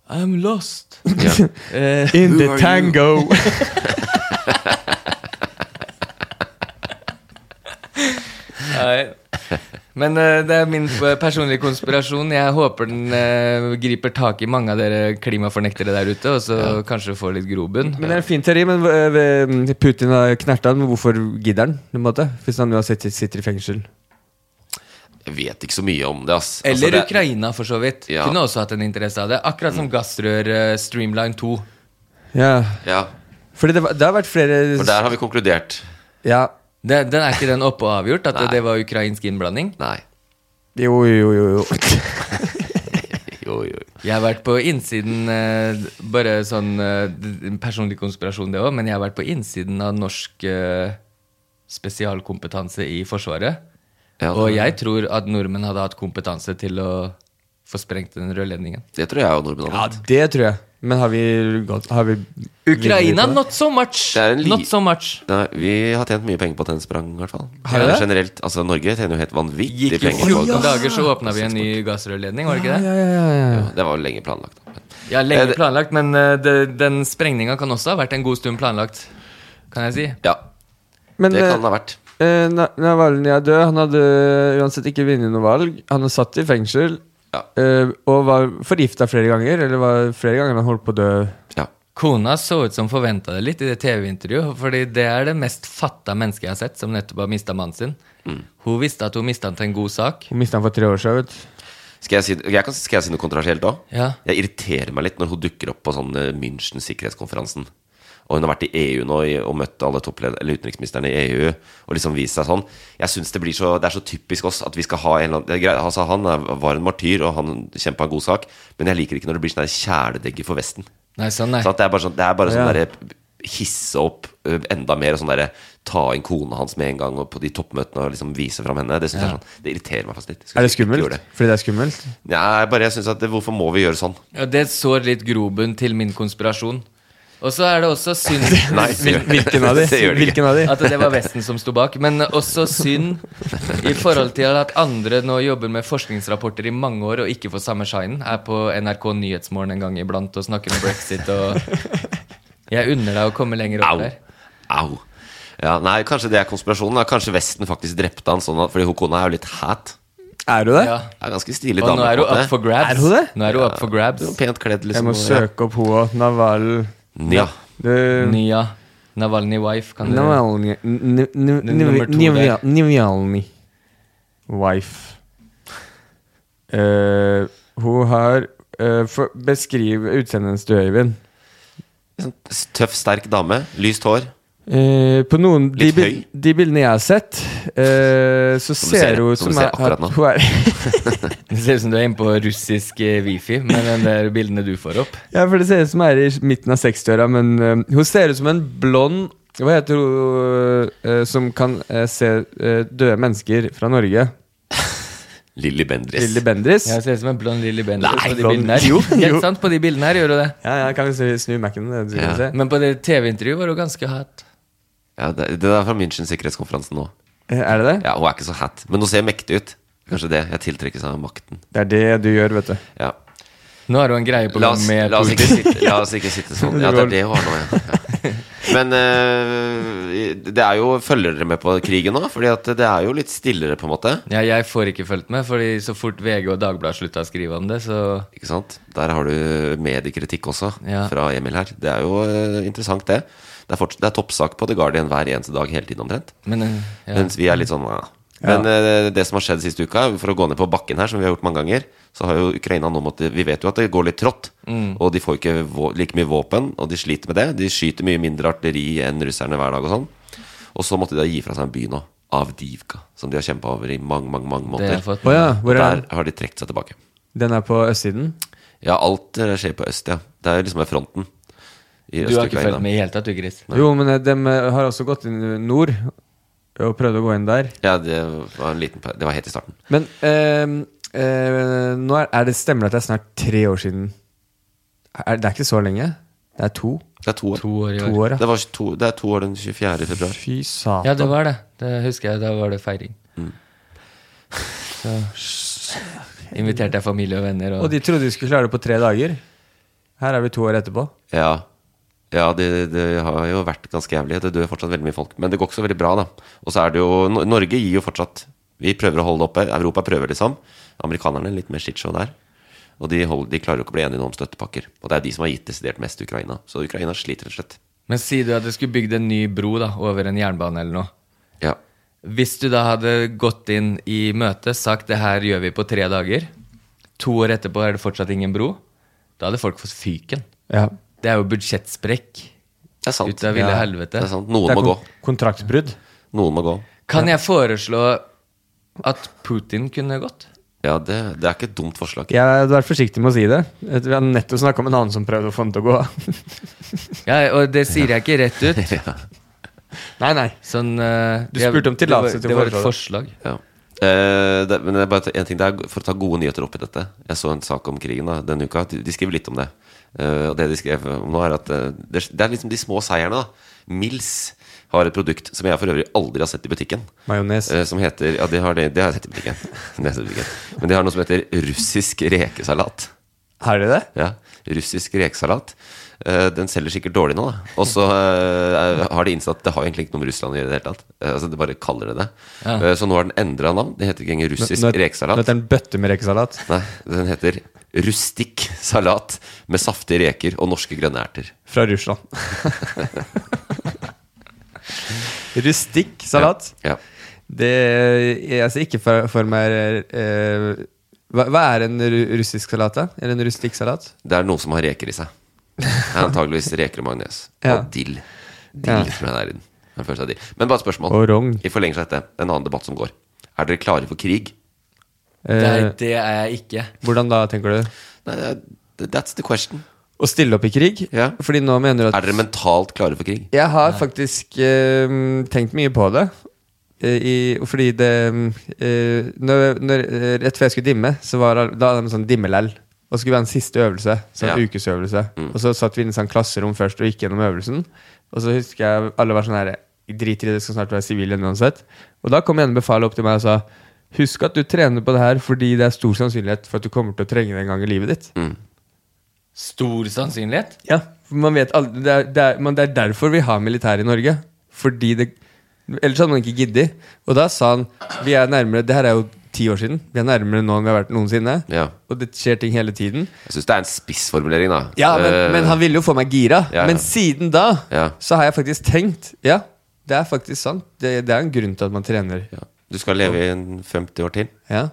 [SPEAKER 4] I'm lost.
[SPEAKER 3] Ja.
[SPEAKER 4] Eh,
[SPEAKER 2] In the tango!
[SPEAKER 4] nei. Men eh, det er min eh, personlige konspirasjon. Jeg håper den eh, griper tak i mange av dere klimafornektere der ute, og så kanskje får litt grobunn.
[SPEAKER 2] Men Det er en fin teori, men øh, øh, Putin har knerta han, men hvorfor gidder han? på en måte? Hvis han uansett sitter i fengsel.
[SPEAKER 3] Jeg vet ikke så mye om det, ass.
[SPEAKER 4] Eller
[SPEAKER 3] altså, det,
[SPEAKER 4] Ukraina, for så vidt.
[SPEAKER 3] Ja. Mm.
[SPEAKER 4] Kunne også hatt en interesse av det. Akkurat som gassrør eh, Streamline 2.
[SPEAKER 2] Ja,
[SPEAKER 3] Ja,
[SPEAKER 2] Fordi det, var- det har vært flere
[SPEAKER 3] for der har vi konkludert.
[SPEAKER 2] Ja.
[SPEAKER 4] Den, den er ikke den oppe og avgjort? At
[SPEAKER 3] Nei.
[SPEAKER 4] det var ukrainsk innblanding?
[SPEAKER 3] Nei.
[SPEAKER 2] Jo, jo, jo. jo.
[SPEAKER 3] Jo, jo.
[SPEAKER 4] Jeg har vært på innsiden eh, Bare sånn eh, d- personlig konspirasjon, det òg, men jeg har vært på innsiden av norsk eh, spesialkompetanse i Forsvaret.
[SPEAKER 3] Ja,
[SPEAKER 4] og
[SPEAKER 3] det-
[SPEAKER 4] jeg tror at nordmenn hadde hatt kompetanse til å få sprengt den rørledningen.
[SPEAKER 3] Det tror jeg og nordmenn
[SPEAKER 2] Ja,
[SPEAKER 3] hadde.
[SPEAKER 2] det tror jeg. Men har vi gått har vi vinner
[SPEAKER 4] Ukraina,
[SPEAKER 2] vi på det?
[SPEAKER 4] not so much!
[SPEAKER 3] Det er en li-
[SPEAKER 4] Not so much.
[SPEAKER 3] Nei, vi har tjent mye penger på tennsprang, i hvert fall.
[SPEAKER 2] Har vi
[SPEAKER 3] Ja,
[SPEAKER 2] det?
[SPEAKER 3] Generelt, altså Norge tjener jo helt vanvittig
[SPEAKER 4] Gikk jo
[SPEAKER 3] penger på
[SPEAKER 4] fjorten
[SPEAKER 3] gass.
[SPEAKER 4] dager, så åpna vi en ny gassrørledning, var det ikke det?
[SPEAKER 2] Ja, ja, ja, ja.
[SPEAKER 3] Det var jo lenge planlagt. da. Men-
[SPEAKER 4] Ja,
[SPEAKER 3] Eh,
[SPEAKER 4] lenge
[SPEAKER 3] det-
[SPEAKER 4] planlagt, men eh, det, den sprengninga kan også ha vært en god stund planlagt. Kan jeg si?
[SPEAKER 3] Ja,
[SPEAKER 2] Men
[SPEAKER 3] det
[SPEAKER 2] eh,
[SPEAKER 3] kan det ha vært.
[SPEAKER 2] eh, Na- Navalnyj er død. Han hadde uansett ikke vunnet noe valg. Han er satt i fengsel
[SPEAKER 3] Ja.
[SPEAKER 2] eh, og var forgifta flere ganger. Eller var flere ganger han holdt på å dø.
[SPEAKER 3] Ja.
[SPEAKER 4] Kona så ut som forventa det litt i det TV-intervjuet, fordi det er det mest fatta mennesket jeg har sett, som nettopp har mista mannen sin.
[SPEAKER 3] Mm.
[SPEAKER 4] Hun visste at hun mista han til en god sak.
[SPEAKER 2] Hun mista han for tre år siden. Vet. du.
[SPEAKER 3] Skal jeg si, jeg kan, skal jeg si noe kontrasielt òg?
[SPEAKER 4] Ja.
[SPEAKER 3] Jeg irriterer meg litt når hun dukker opp på sånn eh, München sikkerhetskonferansen. Og hun har vært i EU nå i- og møtt alle toppled- eller utenriksministrene i EU og liksom vist seg sånn. Jeg synes det, blir så, det er så typisk oss at vi skal ha en eller annen det er greit, altså Han er, var en martyr, og han kjempa en god sak, men jeg liker ikke når det blir sånn der kjæledegge for Vesten.
[SPEAKER 4] Nei, sånn, nei.
[SPEAKER 3] Så at det er bare sånn, det er bare sånn
[SPEAKER 2] Ja.
[SPEAKER 3] derre Hisse opp ø, enda mer og sånn derre Ta inn kona hans med en gang og på de toppmøtene og liksom vise fram henne. Det synes jeg er sånn, det irriterer meg faktisk litt. Jeg skulle
[SPEAKER 2] Er det
[SPEAKER 3] ikke gjøre
[SPEAKER 2] skummelt?
[SPEAKER 3] det.
[SPEAKER 2] Fordi det er skummelt?
[SPEAKER 3] Nei, bare jeg synes at det, Hvorfor må vi gjøre sånn?
[SPEAKER 4] Ja, det sår litt grobunn til min konspirasjon. Og så er det også synd
[SPEAKER 3] Nei, det gjør-
[SPEAKER 2] Hvilken av de?
[SPEAKER 3] det gjør det ikke.
[SPEAKER 2] Hvilken av de?
[SPEAKER 4] At det var Vesten som sto bak. Men også synd i forhold til at andre nå jobber med forskningsrapporter i mange år og ikke får samme shinen. Er på NRK Nyhetsmorgen en gang iblant og snakker om brexit og Jeg unner deg å komme lenger opp
[SPEAKER 3] Au.
[SPEAKER 4] der.
[SPEAKER 3] Au. Ja, nei, Kanskje det er konspirasjonen? Da. Kanskje Vesten faktisk drepte han sånn at, fordi hun kona er jo litt hat.
[SPEAKER 2] Er du det?
[SPEAKER 4] Ja.
[SPEAKER 3] Er en ganske stilig
[SPEAKER 4] Og
[SPEAKER 3] dame.
[SPEAKER 4] nå er
[SPEAKER 3] på
[SPEAKER 4] hun
[SPEAKER 3] en måte.
[SPEAKER 4] up for grabs.
[SPEAKER 2] Er hun det?
[SPEAKER 4] Nå er hun up for grabs.
[SPEAKER 3] Hun er Pent kledd,
[SPEAKER 2] Jeg
[SPEAKER 3] liksom.
[SPEAKER 2] må
[SPEAKER 3] og-
[SPEAKER 2] søke opp henne. Naval
[SPEAKER 3] Ja.
[SPEAKER 2] Du-
[SPEAKER 4] Nya Navalny wife, kan du
[SPEAKER 2] Navalny n- n- n-
[SPEAKER 4] N- nummer to
[SPEAKER 2] Niv-
[SPEAKER 4] der.
[SPEAKER 2] Nivalny Wife Eh, Hun har eh, for, Beskriv utseendet hennes du Øyvind
[SPEAKER 3] Sånn Tøff, sterk dame. Lyst hår.
[SPEAKER 2] Eh, På noen de,
[SPEAKER 3] Litt
[SPEAKER 2] bil-
[SPEAKER 3] høy.
[SPEAKER 2] de bildene jeg har sett eh, Så
[SPEAKER 3] Som du
[SPEAKER 2] ser
[SPEAKER 3] ser-
[SPEAKER 2] hun
[SPEAKER 3] som du
[SPEAKER 2] som
[SPEAKER 3] ser
[SPEAKER 2] er,
[SPEAKER 3] akkurat
[SPEAKER 2] at
[SPEAKER 3] nå.
[SPEAKER 2] hun er
[SPEAKER 4] Det ser ut som du er inne på russisk eh, wifi med den der bildene du får opp.
[SPEAKER 2] Ja, for det ser ut som hun er i midten av 60-åra Men eh, hun ser ut som en blond Hva heter hun eh, Som kan eh, se eh, døde mennesker Fra Norge
[SPEAKER 3] Lilly Bendriss.
[SPEAKER 2] Lilly Bendriss
[SPEAKER 4] Jeg ser ut som en blond Lilly Bendriss
[SPEAKER 2] Nei,
[SPEAKER 4] på de
[SPEAKER 2] blond-
[SPEAKER 4] bildene her.
[SPEAKER 2] Jo, jo.
[SPEAKER 4] Helt sant, på de bildene her gjør du det.
[SPEAKER 2] Ja, ja, kan vi se- snu Mac-en? det du
[SPEAKER 3] Ja.
[SPEAKER 2] vil si?
[SPEAKER 4] Men på det TV-intervjuet var hun ganske hot.
[SPEAKER 3] Ja, det, det er fra München sikkerhetskonferansen nå.
[SPEAKER 2] Eh, Er det det?
[SPEAKER 3] Ja, Hun er ikke så hat, men hun ser mektig ut. Kanskje det. Jeg tiltrekkes av makten.
[SPEAKER 2] Det er det du gjør, vet du.
[SPEAKER 3] Ja.
[SPEAKER 4] Nå har hun en greie på
[SPEAKER 3] La,
[SPEAKER 4] gang
[SPEAKER 3] oss,
[SPEAKER 4] med
[SPEAKER 3] la, oss ikke
[SPEAKER 4] Putin.
[SPEAKER 3] sitte, la oss ikke sitte sånn. Ja, det er det hun har nå, ja. ja. Men eh, det er jo Følger dere med på krigen nå? Fordi at det er jo litt stillere, på en måte.
[SPEAKER 4] Ja, jeg får ikke fulgt med, fordi så fort VG og Dagbladet slutta å skrive om det, så
[SPEAKER 3] Ikke sant? Der har du mediekritikk også,
[SPEAKER 4] Ja.
[SPEAKER 3] fra Emil her. Det er jo eh, interessant, det. Det er, forts- det er toppsak på The Guardian hver eneste dag hele tiden omtrent.
[SPEAKER 4] Men eh, ja.
[SPEAKER 3] Mens vi er litt sånn ja. Men eh, det som har skjedd siste uka, for å gå ned på bakken her, som vi har gjort mange ganger, så har jo Ukraina nå måttet Vi vet jo at det går litt trått,
[SPEAKER 4] Mm.
[SPEAKER 3] og de får ikke vå- like mye våpen, og de sliter med det. De skyter mye mindre artilleri enn russerne hver dag og sånn. Og så måtte de da gi fra seg en by nå, Avdivka, som de har kjempa over i mange, mange mange
[SPEAKER 4] det har
[SPEAKER 3] måneder.
[SPEAKER 4] jeg fått.
[SPEAKER 2] Å ja, hvor
[SPEAKER 3] Og
[SPEAKER 2] er
[SPEAKER 3] der
[SPEAKER 2] den?
[SPEAKER 3] har de trukket seg tilbake.
[SPEAKER 2] Den er på østsiden?
[SPEAKER 3] Ja, alt eh, skjer på øst, ja. Det er jo liksom ved fronten. I
[SPEAKER 4] Du har ikke
[SPEAKER 3] Øst-Ukraina.
[SPEAKER 4] fulgt med i hele tatt, du, Chris.
[SPEAKER 2] Jo, men eh, dem eh, har også gått inn i nord og prøvd å gå inn der.
[SPEAKER 3] Ja, det var en liten per- Det var helt i starten.
[SPEAKER 2] Men eh, eh, nå er, er det stemmer det at det er snart tre år siden? Er, det er ikke så lenge? Det er to?
[SPEAKER 3] Det er to år.
[SPEAKER 4] To år i
[SPEAKER 2] To
[SPEAKER 4] år.
[SPEAKER 2] år,
[SPEAKER 3] Det,
[SPEAKER 2] ja.
[SPEAKER 3] var to, det er to år den 24. februar.
[SPEAKER 2] Fy satan.
[SPEAKER 4] Ja, det var det. Det husker jeg. Da var det feiring. Så inviterte jeg familie og venner,
[SPEAKER 2] Og
[SPEAKER 4] og
[SPEAKER 2] de trodde de skulle klare det på tre dager. Her er vi to år etterpå.
[SPEAKER 3] Ja, ja det, det har jo vært ganske jævlig. Det dør fortsatt veldig mye folk. Men det går ikke så veldig bra, da. Og så er det jo Nor- Norge gir jo fortsatt Vi prøver å holde det oppe. Europa prøver, liksom. Amerikanerne litt mer shitshow der. Og de, hold- de klarer jo ikke å bli enige nå om støttepakker. Og det er de som har gitt desidert mest til Ukraina. Så Ukraina sliter rett og slett.
[SPEAKER 4] Men si du at du skulle bygd en ny bro da, over en jernbane eller noe.
[SPEAKER 3] Ja.
[SPEAKER 4] Hvis du da hadde gått inn i møtet, sagt det her gjør vi på tre dager, to år etterpå er det fortsatt ingen bro, da hadde folk fått fyken.
[SPEAKER 2] Ja.
[SPEAKER 4] Det er jo budsjettsprekk
[SPEAKER 3] Det er sant.
[SPEAKER 4] ut av ville
[SPEAKER 3] Ja,
[SPEAKER 4] helvete.
[SPEAKER 3] Det er sant. Noen
[SPEAKER 2] Det er
[SPEAKER 3] må gå.
[SPEAKER 2] kon kontraktbrudd.
[SPEAKER 3] Noen må gå.
[SPEAKER 4] Kan jeg foreslå at Putin kunne gått?
[SPEAKER 3] Ja, det, det er ikke et dumt forslag.
[SPEAKER 2] Jeg hadde vært forsiktig med å si det. Vi har nettopp snakka om en annen som prøvde å få den til å gå av.
[SPEAKER 4] Ja, og det sier jeg ikke rett ut.
[SPEAKER 2] Nei, nei.
[SPEAKER 4] Sånn, eh,
[SPEAKER 2] Du
[SPEAKER 4] jeg-
[SPEAKER 2] spurte om
[SPEAKER 4] det var-
[SPEAKER 2] tillatelse til å
[SPEAKER 4] Det var et forslag.
[SPEAKER 3] Ja. Eh, det, men det er bare en ting det er for å ta gode nyheter opp i dette. Jeg så en sak om krigen da, denne uka. De, de skriver litt om det. Eh, og det de skrev om nå, er at eh, det, det er liksom de små seierne. da Mills har et produkt som jeg for øvrig aldri har sett i butikken.
[SPEAKER 2] Majones.
[SPEAKER 3] Eh, som heter Ja, det har, det, det har jeg sett i butikken. Det har jeg sett i butikken. Men de har noe som heter russisk rekesalat.
[SPEAKER 2] Har de det?
[SPEAKER 3] Ja, russisk rekesalat. Eh, den selger sikkert dårlig nå, da. Og så eh, har de innsatt Det har jo egentlig ikke noe med Russland å gjøre i det hele tatt. Eh, altså, de bare kaller det det. Eh, så nå har den endra navn. Det heter ikke engang russisk
[SPEAKER 2] Nå
[SPEAKER 3] rekesalat.
[SPEAKER 2] heter den bøtte med rekesalat.
[SPEAKER 3] Nei, den heter rustikk salat med saftige reker og norske grønne erter.
[SPEAKER 2] Fra Russland. Rustikk salat.
[SPEAKER 3] Ja.
[SPEAKER 2] Det Jeg ser ikke for, for meg eh, hva, hva er en ru- russisk salat, da? Eller en rustikk salat?
[SPEAKER 3] Det er noe som har reker i seg. Antageligvis reker og majones.
[SPEAKER 2] Ja.
[SPEAKER 3] Og dill.
[SPEAKER 2] Ja.
[SPEAKER 3] Dill tror jeg det er i den. Den første av de. Men bare et spørsmål.
[SPEAKER 2] Og rogn.
[SPEAKER 3] I forlengelse av dette, en annen debatt som går. Er dere klare for krig?
[SPEAKER 2] Eh,
[SPEAKER 4] Nei, det er jeg ikke.
[SPEAKER 2] hvordan da, tenker du?
[SPEAKER 3] Nei, det er- that's the question.
[SPEAKER 2] Å stille opp i krig?
[SPEAKER 3] Ja.
[SPEAKER 2] Fordi nå mener du at
[SPEAKER 3] Er dere mentalt klare for krig?
[SPEAKER 2] Jeg har faktisk eh, tenkt mye på det. Eh, I, fordi det eh, når, når, eh, Rett før jeg skulle dimme, så var det, da hadde de sånn dimmelell. Og så skulle vi ha en siste øvelse. Sånn
[SPEAKER 3] Ja.
[SPEAKER 2] ukesøvelse. Og så satt vi i en sånn klasserom først og gikk gjennom øvelsen. Og så husker jeg alle var sånn her Jeg driter i det, skal snart være sivil igjen uansett. Og da kom en befalet opp til meg og sa Husk at du trener på det her fordi det er stor sannsynlighet for at du kommer til å trenge det en gang i livet ditt.
[SPEAKER 4] Stor sannsynlighet.
[SPEAKER 2] Ja, for man vet aldri, det, er, det, er, men det er derfor vi har militær i Norge. Fordi det Ellers hadde man ikke giddet. Og da sa han Vi er nærmere Det her er jo ti år siden. Vi er nærmere nå enn vi har vært noensinne.
[SPEAKER 3] Ja.
[SPEAKER 2] Og det skjer ting hele tiden.
[SPEAKER 3] Jeg syns det er en spissformulering, da.
[SPEAKER 2] Ja, men,
[SPEAKER 3] Eh,
[SPEAKER 2] men han ville jo få meg gira.
[SPEAKER 3] Ja, ja.
[SPEAKER 2] Men siden da
[SPEAKER 3] Ja.
[SPEAKER 2] så har jeg faktisk tenkt Ja, det er faktisk sant. Det, det er en grunn til at man trener.
[SPEAKER 3] ja. Du skal leve i en 50 år til?
[SPEAKER 2] Ja.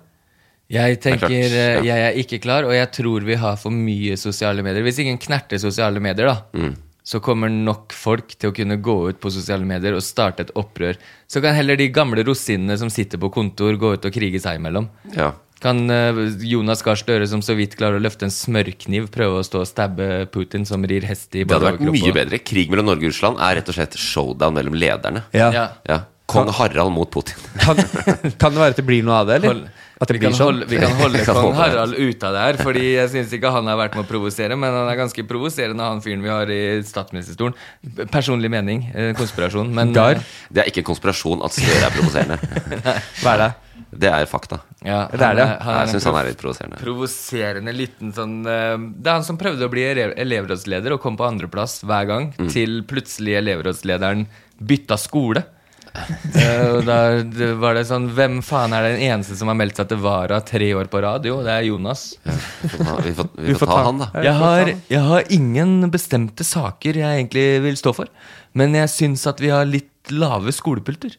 [SPEAKER 4] Jeg
[SPEAKER 3] er
[SPEAKER 4] tenker
[SPEAKER 3] klart,
[SPEAKER 4] eh,
[SPEAKER 3] ja.
[SPEAKER 4] jeg er ikke klar, og jeg tror vi har for mye sosiale medier. Hvis ingen knerter sosiale medier, da,
[SPEAKER 3] Mm.
[SPEAKER 4] så kommer nok folk til å kunne gå ut på sosiale medier og starte et opprør. Så kan heller de gamle rosinene som sitter på kontor, gå ut og krige seg imellom.
[SPEAKER 3] Ja.
[SPEAKER 4] Kan eh, Jonas Gahr Støre, som så vidt klarer å løfte en smørkniv, prøve å stå og stabbe Putin, som rir hest i
[SPEAKER 3] Det hadde vært
[SPEAKER 4] overkropp
[SPEAKER 3] mye
[SPEAKER 4] og-
[SPEAKER 3] bedre. Krig mellom Norge og Russland er rett og slett showdown mellom lederne.
[SPEAKER 2] Ja.
[SPEAKER 4] Ja.
[SPEAKER 3] Ja. Kong Harald mot Putin.
[SPEAKER 2] Kan, kan det være at det blir noe av det, eller?
[SPEAKER 4] Hold-
[SPEAKER 2] At det
[SPEAKER 4] vi, kan
[SPEAKER 2] blir sånn?
[SPEAKER 4] holde, vi kan holde
[SPEAKER 3] Vi kan
[SPEAKER 4] kong
[SPEAKER 3] holde det.
[SPEAKER 4] Harald ute av det her, Fordi jeg syns ikke han har vært med å provosere, men han er ganske provoserende, han fyren vi har i statsministerstolen. P- Personlig mening, eh, konspirasjon, men eh,
[SPEAKER 2] Gahr?
[SPEAKER 3] Det er ikke en konspirasjon at Støre er provoserende.
[SPEAKER 2] Hva er det?
[SPEAKER 3] Det er fakta.
[SPEAKER 4] Ja,
[SPEAKER 2] Det er det.
[SPEAKER 4] er
[SPEAKER 3] Jeg
[SPEAKER 4] en
[SPEAKER 3] syns han
[SPEAKER 4] prov-
[SPEAKER 3] er litt provoserende.
[SPEAKER 4] provoserende liten sånn eh, Det er han som prøvde å bli elev- elevrådsleder og kom på andreplass hver gang,
[SPEAKER 3] Mm.
[SPEAKER 4] til plutselig elevrådslederen bytta skole. Eh, og da det var det sånn Hvem faen er den eneste som har meldt seg til Vara tre år på rad? Jo, det er Jonas.
[SPEAKER 3] Vi får, vi får ta han, da.
[SPEAKER 4] Jeg har, jeg har ingen bestemte saker jeg egentlig vil stå for, men jeg syns at vi har litt lave skolepulter.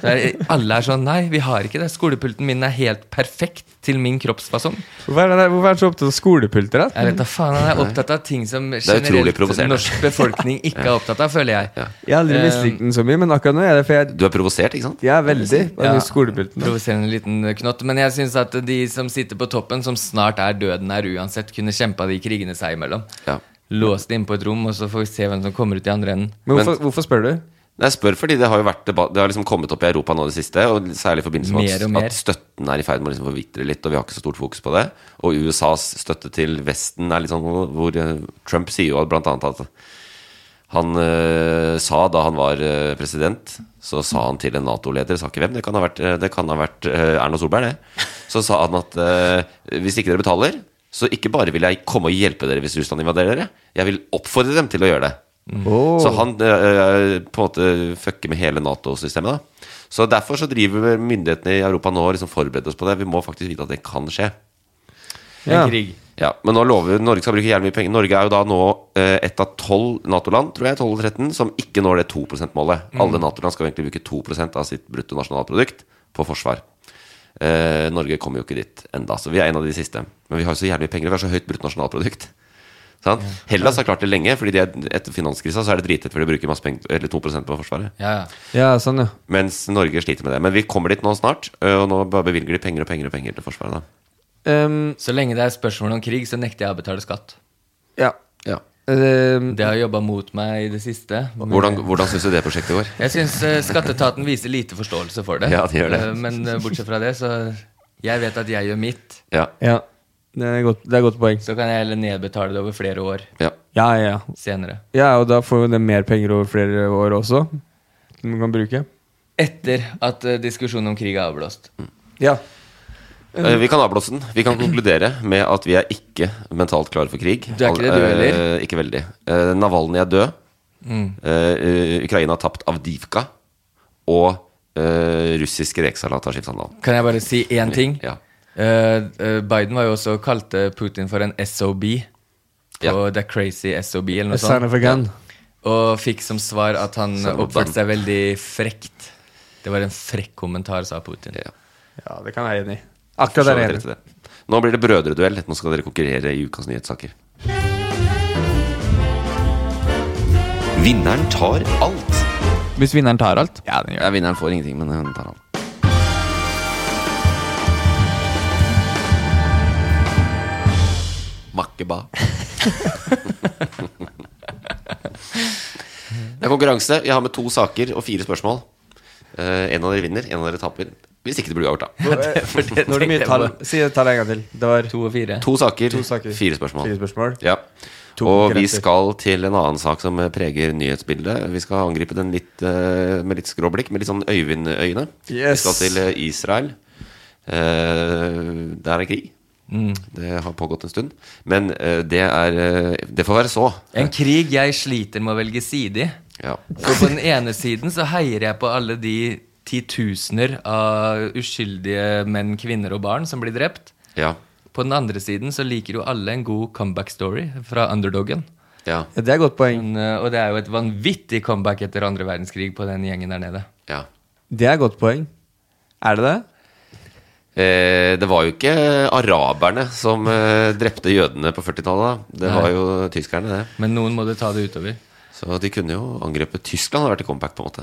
[SPEAKER 4] Der alle er sånn Nei, vi har ikke det. Skolepulten min er helt perfekt til min kroppsfasong.
[SPEAKER 2] Hvorfor er han- hvorfor er han så opptatt av skolepulter, da?
[SPEAKER 4] Jeg vet da faen, Han er opptatt av ting som
[SPEAKER 3] utrolig
[SPEAKER 4] generelt
[SPEAKER 3] provoserende.
[SPEAKER 4] norsk befolkning ikke er opptatt av, føler jeg.
[SPEAKER 2] Jeg har aldri
[SPEAKER 4] Eh,
[SPEAKER 2] mislikt den så mye, men akkurat nå er det for jeg,
[SPEAKER 3] Du er provosert, ikke sant?
[SPEAKER 2] jeg er veldig på
[SPEAKER 4] Ja.
[SPEAKER 2] den skolepulten.
[SPEAKER 4] Provoserende liten knott. Men jeg syns at de som sitter på toppen, som snart er døden her uansett, kunne kjempa de krigene seg imellom.
[SPEAKER 3] Ja.
[SPEAKER 4] Låst inn på et rom, og så får vi se hvem som kommer ut i andre enden.
[SPEAKER 2] Men hvorfor, hvorfor spør du?
[SPEAKER 3] Nei, Jeg spør fordi det har jo vært debatt Det har liksom kommet opp i Europa nå i det siste, og særlig i forbindelse med
[SPEAKER 4] Mer og
[SPEAKER 3] at,
[SPEAKER 4] mer.
[SPEAKER 3] at støtten er i ferd med å liksom forvitre litt, og vi har ikke så stort fokus på det. Og USAs støtte til Vesten er litt sånn hvor eh, Trump sier jo at blant annet at han eh, sa da han var eh, president, så sa han til en Nato-leder, sa ikke hvem, det kan ha vært, eh, det kan ha vært eh, Erna Solberg, det. Så sa han at eh, hvis ikke dere betaler, så ikke bare vil jeg komme og hjelpe dere hvis Russland invaderer dere, jeg vil oppfordre dem til å gjøre det. Så han eh, på en måte fucker med hele Nato-systemet. da Så Derfor så driver myndighetene i Europa nå og liksom forbereder oss på det. Vi må faktisk vite at det kan skje.
[SPEAKER 2] Ja.
[SPEAKER 4] Krig.
[SPEAKER 3] Ja, Men nå lover vi- Norge skal bruke jævlig mye penger. Norge er jo da nå eh, ett av tolv Nato-land tror jeg, 12 eller 13, som ikke når det 2 %-målet. Alle Nato-land skal egentlig bruke 2 av sitt bruttonasjonalprodukt på forsvar. Eh, Norge kommer jo ikke dit enda, så vi er en av de siste. Men vi har jo så jævlig penger, vi har så høyt bruttonasjonalprodukt. Sant? Hellas har klart det lenge, Fordi de er, etter finanskrisa så er det drittett, for de bruker masse penger, eller 2 på Forsvaret.
[SPEAKER 4] Ja, ja.
[SPEAKER 2] Ja, sånn, ja.
[SPEAKER 3] Mens Norge sliter med det. Men vi kommer dit nå snart, eh, og nå bare bevilger de penger og penger og penger til Forsvaret. da
[SPEAKER 2] Ehm,
[SPEAKER 4] Så lenge det er spørsmål om krig, så nekter jeg å betale skatt.
[SPEAKER 2] ja.
[SPEAKER 3] Ja.
[SPEAKER 2] Ehm,
[SPEAKER 4] Det har jobba mot meg i det siste. men-
[SPEAKER 3] Hvordan, hvordan syns du det prosjektet går?
[SPEAKER 4] Jeg syns skatteetaten viser lite forståelse for det.
[SPEAKER 3] Ja, det gjør det.
[SPEAKER 4] Eh, Men eh, bortsett fra det, så Jeg vet at jeg gjør mitt.
[SPEAKER 3] Ja,
[SPEAKER 2] ja. Det er, godt, det er godt poeng.
[SPEAKER 4] Så kan jeg heller nedbetale det over flere år
[SPEAKER 3] ja,
[SPEAKER 2] Ja, ja, ja.
[SPEAKER 4] senere.
[SPEAKER 2] Ja, og da får jo det mer penger over flere år også. Som du kan bruke.
[SPEAKER 4] Etter at eh, diskusjonen om krig er avblåst.
[SPEAKER 3] Mm.
[SPEAKER 2] Ja.
[SPEAKER 3] Eh, Vi kan avblåse den. Vi kan konkludere med at vi er ikke mentalt klare for krig.
[SPEAKER 4] Du er ikke det, du
[SPEAKER 3] Al- eh,
[SPEAKER 4] heller? Mm.
[SPEAKER 3] Ikke veldig. Eh, Navalny er død. Eh, eh, Ukraina har tapt Avdivka. Og eh, russisk rekesalat har skifta navn.
[SPEAKER 4] Kan jeg bare si én ting?
[SPEAKER 3] Ja.
[SPEAKER 4] Eh, eh, Biden var jo også kalte Putin for en SOB. På
[SPEAKER 3] Ja.
[SPEAKER 4] The Crazy SOB, eller noe
[SPEAKER 2] Sign
[SPEAKER 4] sånt.
[SPEAKER 2] of a gun.
[SPEAKER 4] Og fikk som svar at han
[SPEAKER 3] Son of a gun.
[SPEAKER 4] oppførte seg veldig frekt. Det var en frekk kommentar, sa Putin.
[SPEAKER 3] Ja.
[SPEAKER 2] Ja, det kan jeg være enig i. Akkurat der er jeg
[SPEAKER 3] Så
[SPEAKER 2] enig.
[SPEAKER 3] dere til det. Nå blir det brødreduell. Nå skal dere konkurrere i ukas nyhetssaker. Vinneren tar alt.
[SPEAKER 7] Hvis vinneren tar alt?
[SPEAKER 3] Ja, vinneren får ingenting, men hun tar alt. Makkeba. Det er konkurranse. Jeg har med to saker og fire spørsmål. Eh, en av dere vinner, en av dere taper. Hvis ikke det blir uavgjort, da.
[SPEAKER 2] Nå er det mye tall. Si det tallet en gang til. Det var
[SPEAKER 4] To og fire.
[SPEAKER 3] To saker,
[SPEAKER 2] To saker.
[SPEAKER 3] fire spørsmål.
[SPEAKER 2] fire spørsmål.
[SPEAKER 3] Ja.
[SPEAKER 2] To
[SPEAKER 3] Og vi
[SPEAKER 2] konkurrenter.
[SPEAKER 3] skal til en annen sak som preger nyhetsbildet. Vi skal angripe den litt eh, med litt skråblikk, med litt sånn Øyvind-øyne. Vi
[SPEAKER 2] Yes.
[SPEAKER 3] skal til eh, Israel. Eh, der er krig.
[SPEAKER 2] Mm.
[SPEAKER 3] Det har pågått en stund. Men eh, det er eh, Det får være så.
[SPEAKER 4] En krig jeg sliter med å velge side i.
[SPEAKER 3] Ja.
[SPEAKER 4] For på den ene siden så heier jeg på alle de titusener av uskyldige menn, kvinner og barn som blir drept.
[SPEAKER 3] Ja.
[SPEAKER 4] På den andre siden så liker jo alle en god comeback-story fra underdogen.
[SPEAKER 3] Ja.
[SPEAKER 2] Ja, det er et godt poeng.
[SPEAKER 4] Men, eh, og det er jo et vanvittig comeback etter andre verdenskrig på den gjengen der nede.
[SPEAKER 3] ja.
[SPEAKER 2] Det er et godt poeng. Er det det?
[SPEAKER 3] Eh, det var jo ikke araberne som eh, drepte jødene på 40-tallet. da. Det var jo tyskerne, det.
[SPEAKER 4] Men noen må det ta det utover.
[SPEAKER 3] Så de kunne jo angrepet Tyskland, har vært i comeback, på en måte.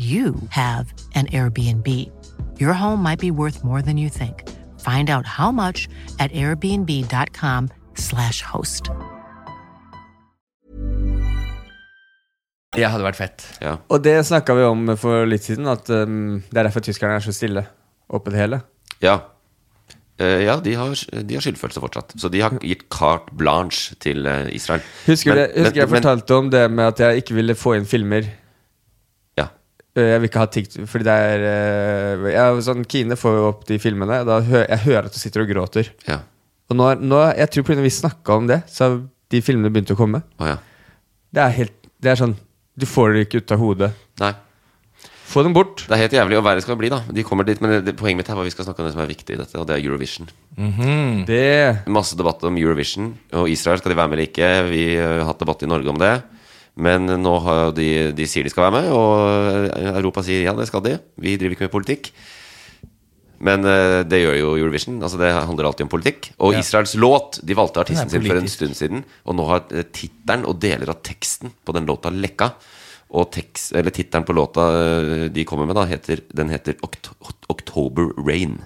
[SPEAKER 8] you have an Airbnb. Your home might be worth more than you think. Find out how much at airbnb.com/slash host.
[SPEAKER 4] Det hadde vært fett.
[SPEAKER 3] Ja.
[SPEAKER 2] Og det snakka vi om ehm, for litt siden, at um, det er derfor tyskerne er så stille oppe i det hele.
[SPEAKER 3] Ja. Eh, ja, de har, de har skyldfølelse fortsatt. Så de har gitt carte blanche til eh, Israel.
[SPEAKER 2] Husker,
[SPEAKER 3] Men-
[SPEAKER 2] det, husker
[SPEAKER 3] men-
[SPEAKER 2] jeg
[SPEAKER 3] men-
[SPEAKER 2] fortalte om det med at jeg ikke ville få inn filmer?
[SPEAKER 3] Ja.
[SPEAKER 2] Eh, Jeg vil ikke ha TikTok Fordi det er eh, jeg, sånn, Kine får jo opp de filmene. Da hø, jeg hører at du sitter og gråter.
[SPEAKER 3] Ja.
[SPEAKER 2] Og nå, er- nå, jeg tror på grunn av vi snakka om det, så har de filmene begynt å komme.
[SPEAKER 3] Å, ja.
[SPEAKER 2] Det er helt Det er sånn Du får det ikke ut av hodet.
[SPEAKER 3] Nei.
[SPEAKER 2] Få dem bort.
[SPEAKER 3] Det er helt jævlig, og verre skal det bli, da. De kommer dit, men det, det, poenget mitt er hva vi skal snakke om det som er viktig i dette, og det er Eurovision. Mm.
[SPEAKER 2] Det
[SPEAKER 3] Eh, Masse debatt om Eurovision og Israel. Skal de være med eller ikke? Vi eh, har hatt debatt i Norge om det. Men nå har jo de, de sier de skal være med, og eh, Europa sier ja, det skal de. Vi driver ikke med politikk. Men eh, det gjør jo Eurovision. altså Det handler alltid om politikk. Og
[SPEAKER 7] Ja.
[SPEAKER 3] Israels låt De valgte
[SPEAKER 7] Den
[SPEAKER 3] artisten
[SPEAKER 7] er
[SPEAKER 3] sin for en
[SPEAKER 7] politisk.
[SPEAKER 3] stund siden, og nå har eh, tittelen og deler av teksten på den låta lekka. Og tekst, eller tittelen på låta eh, de kommer med, da heter, den heter Okt October Rain.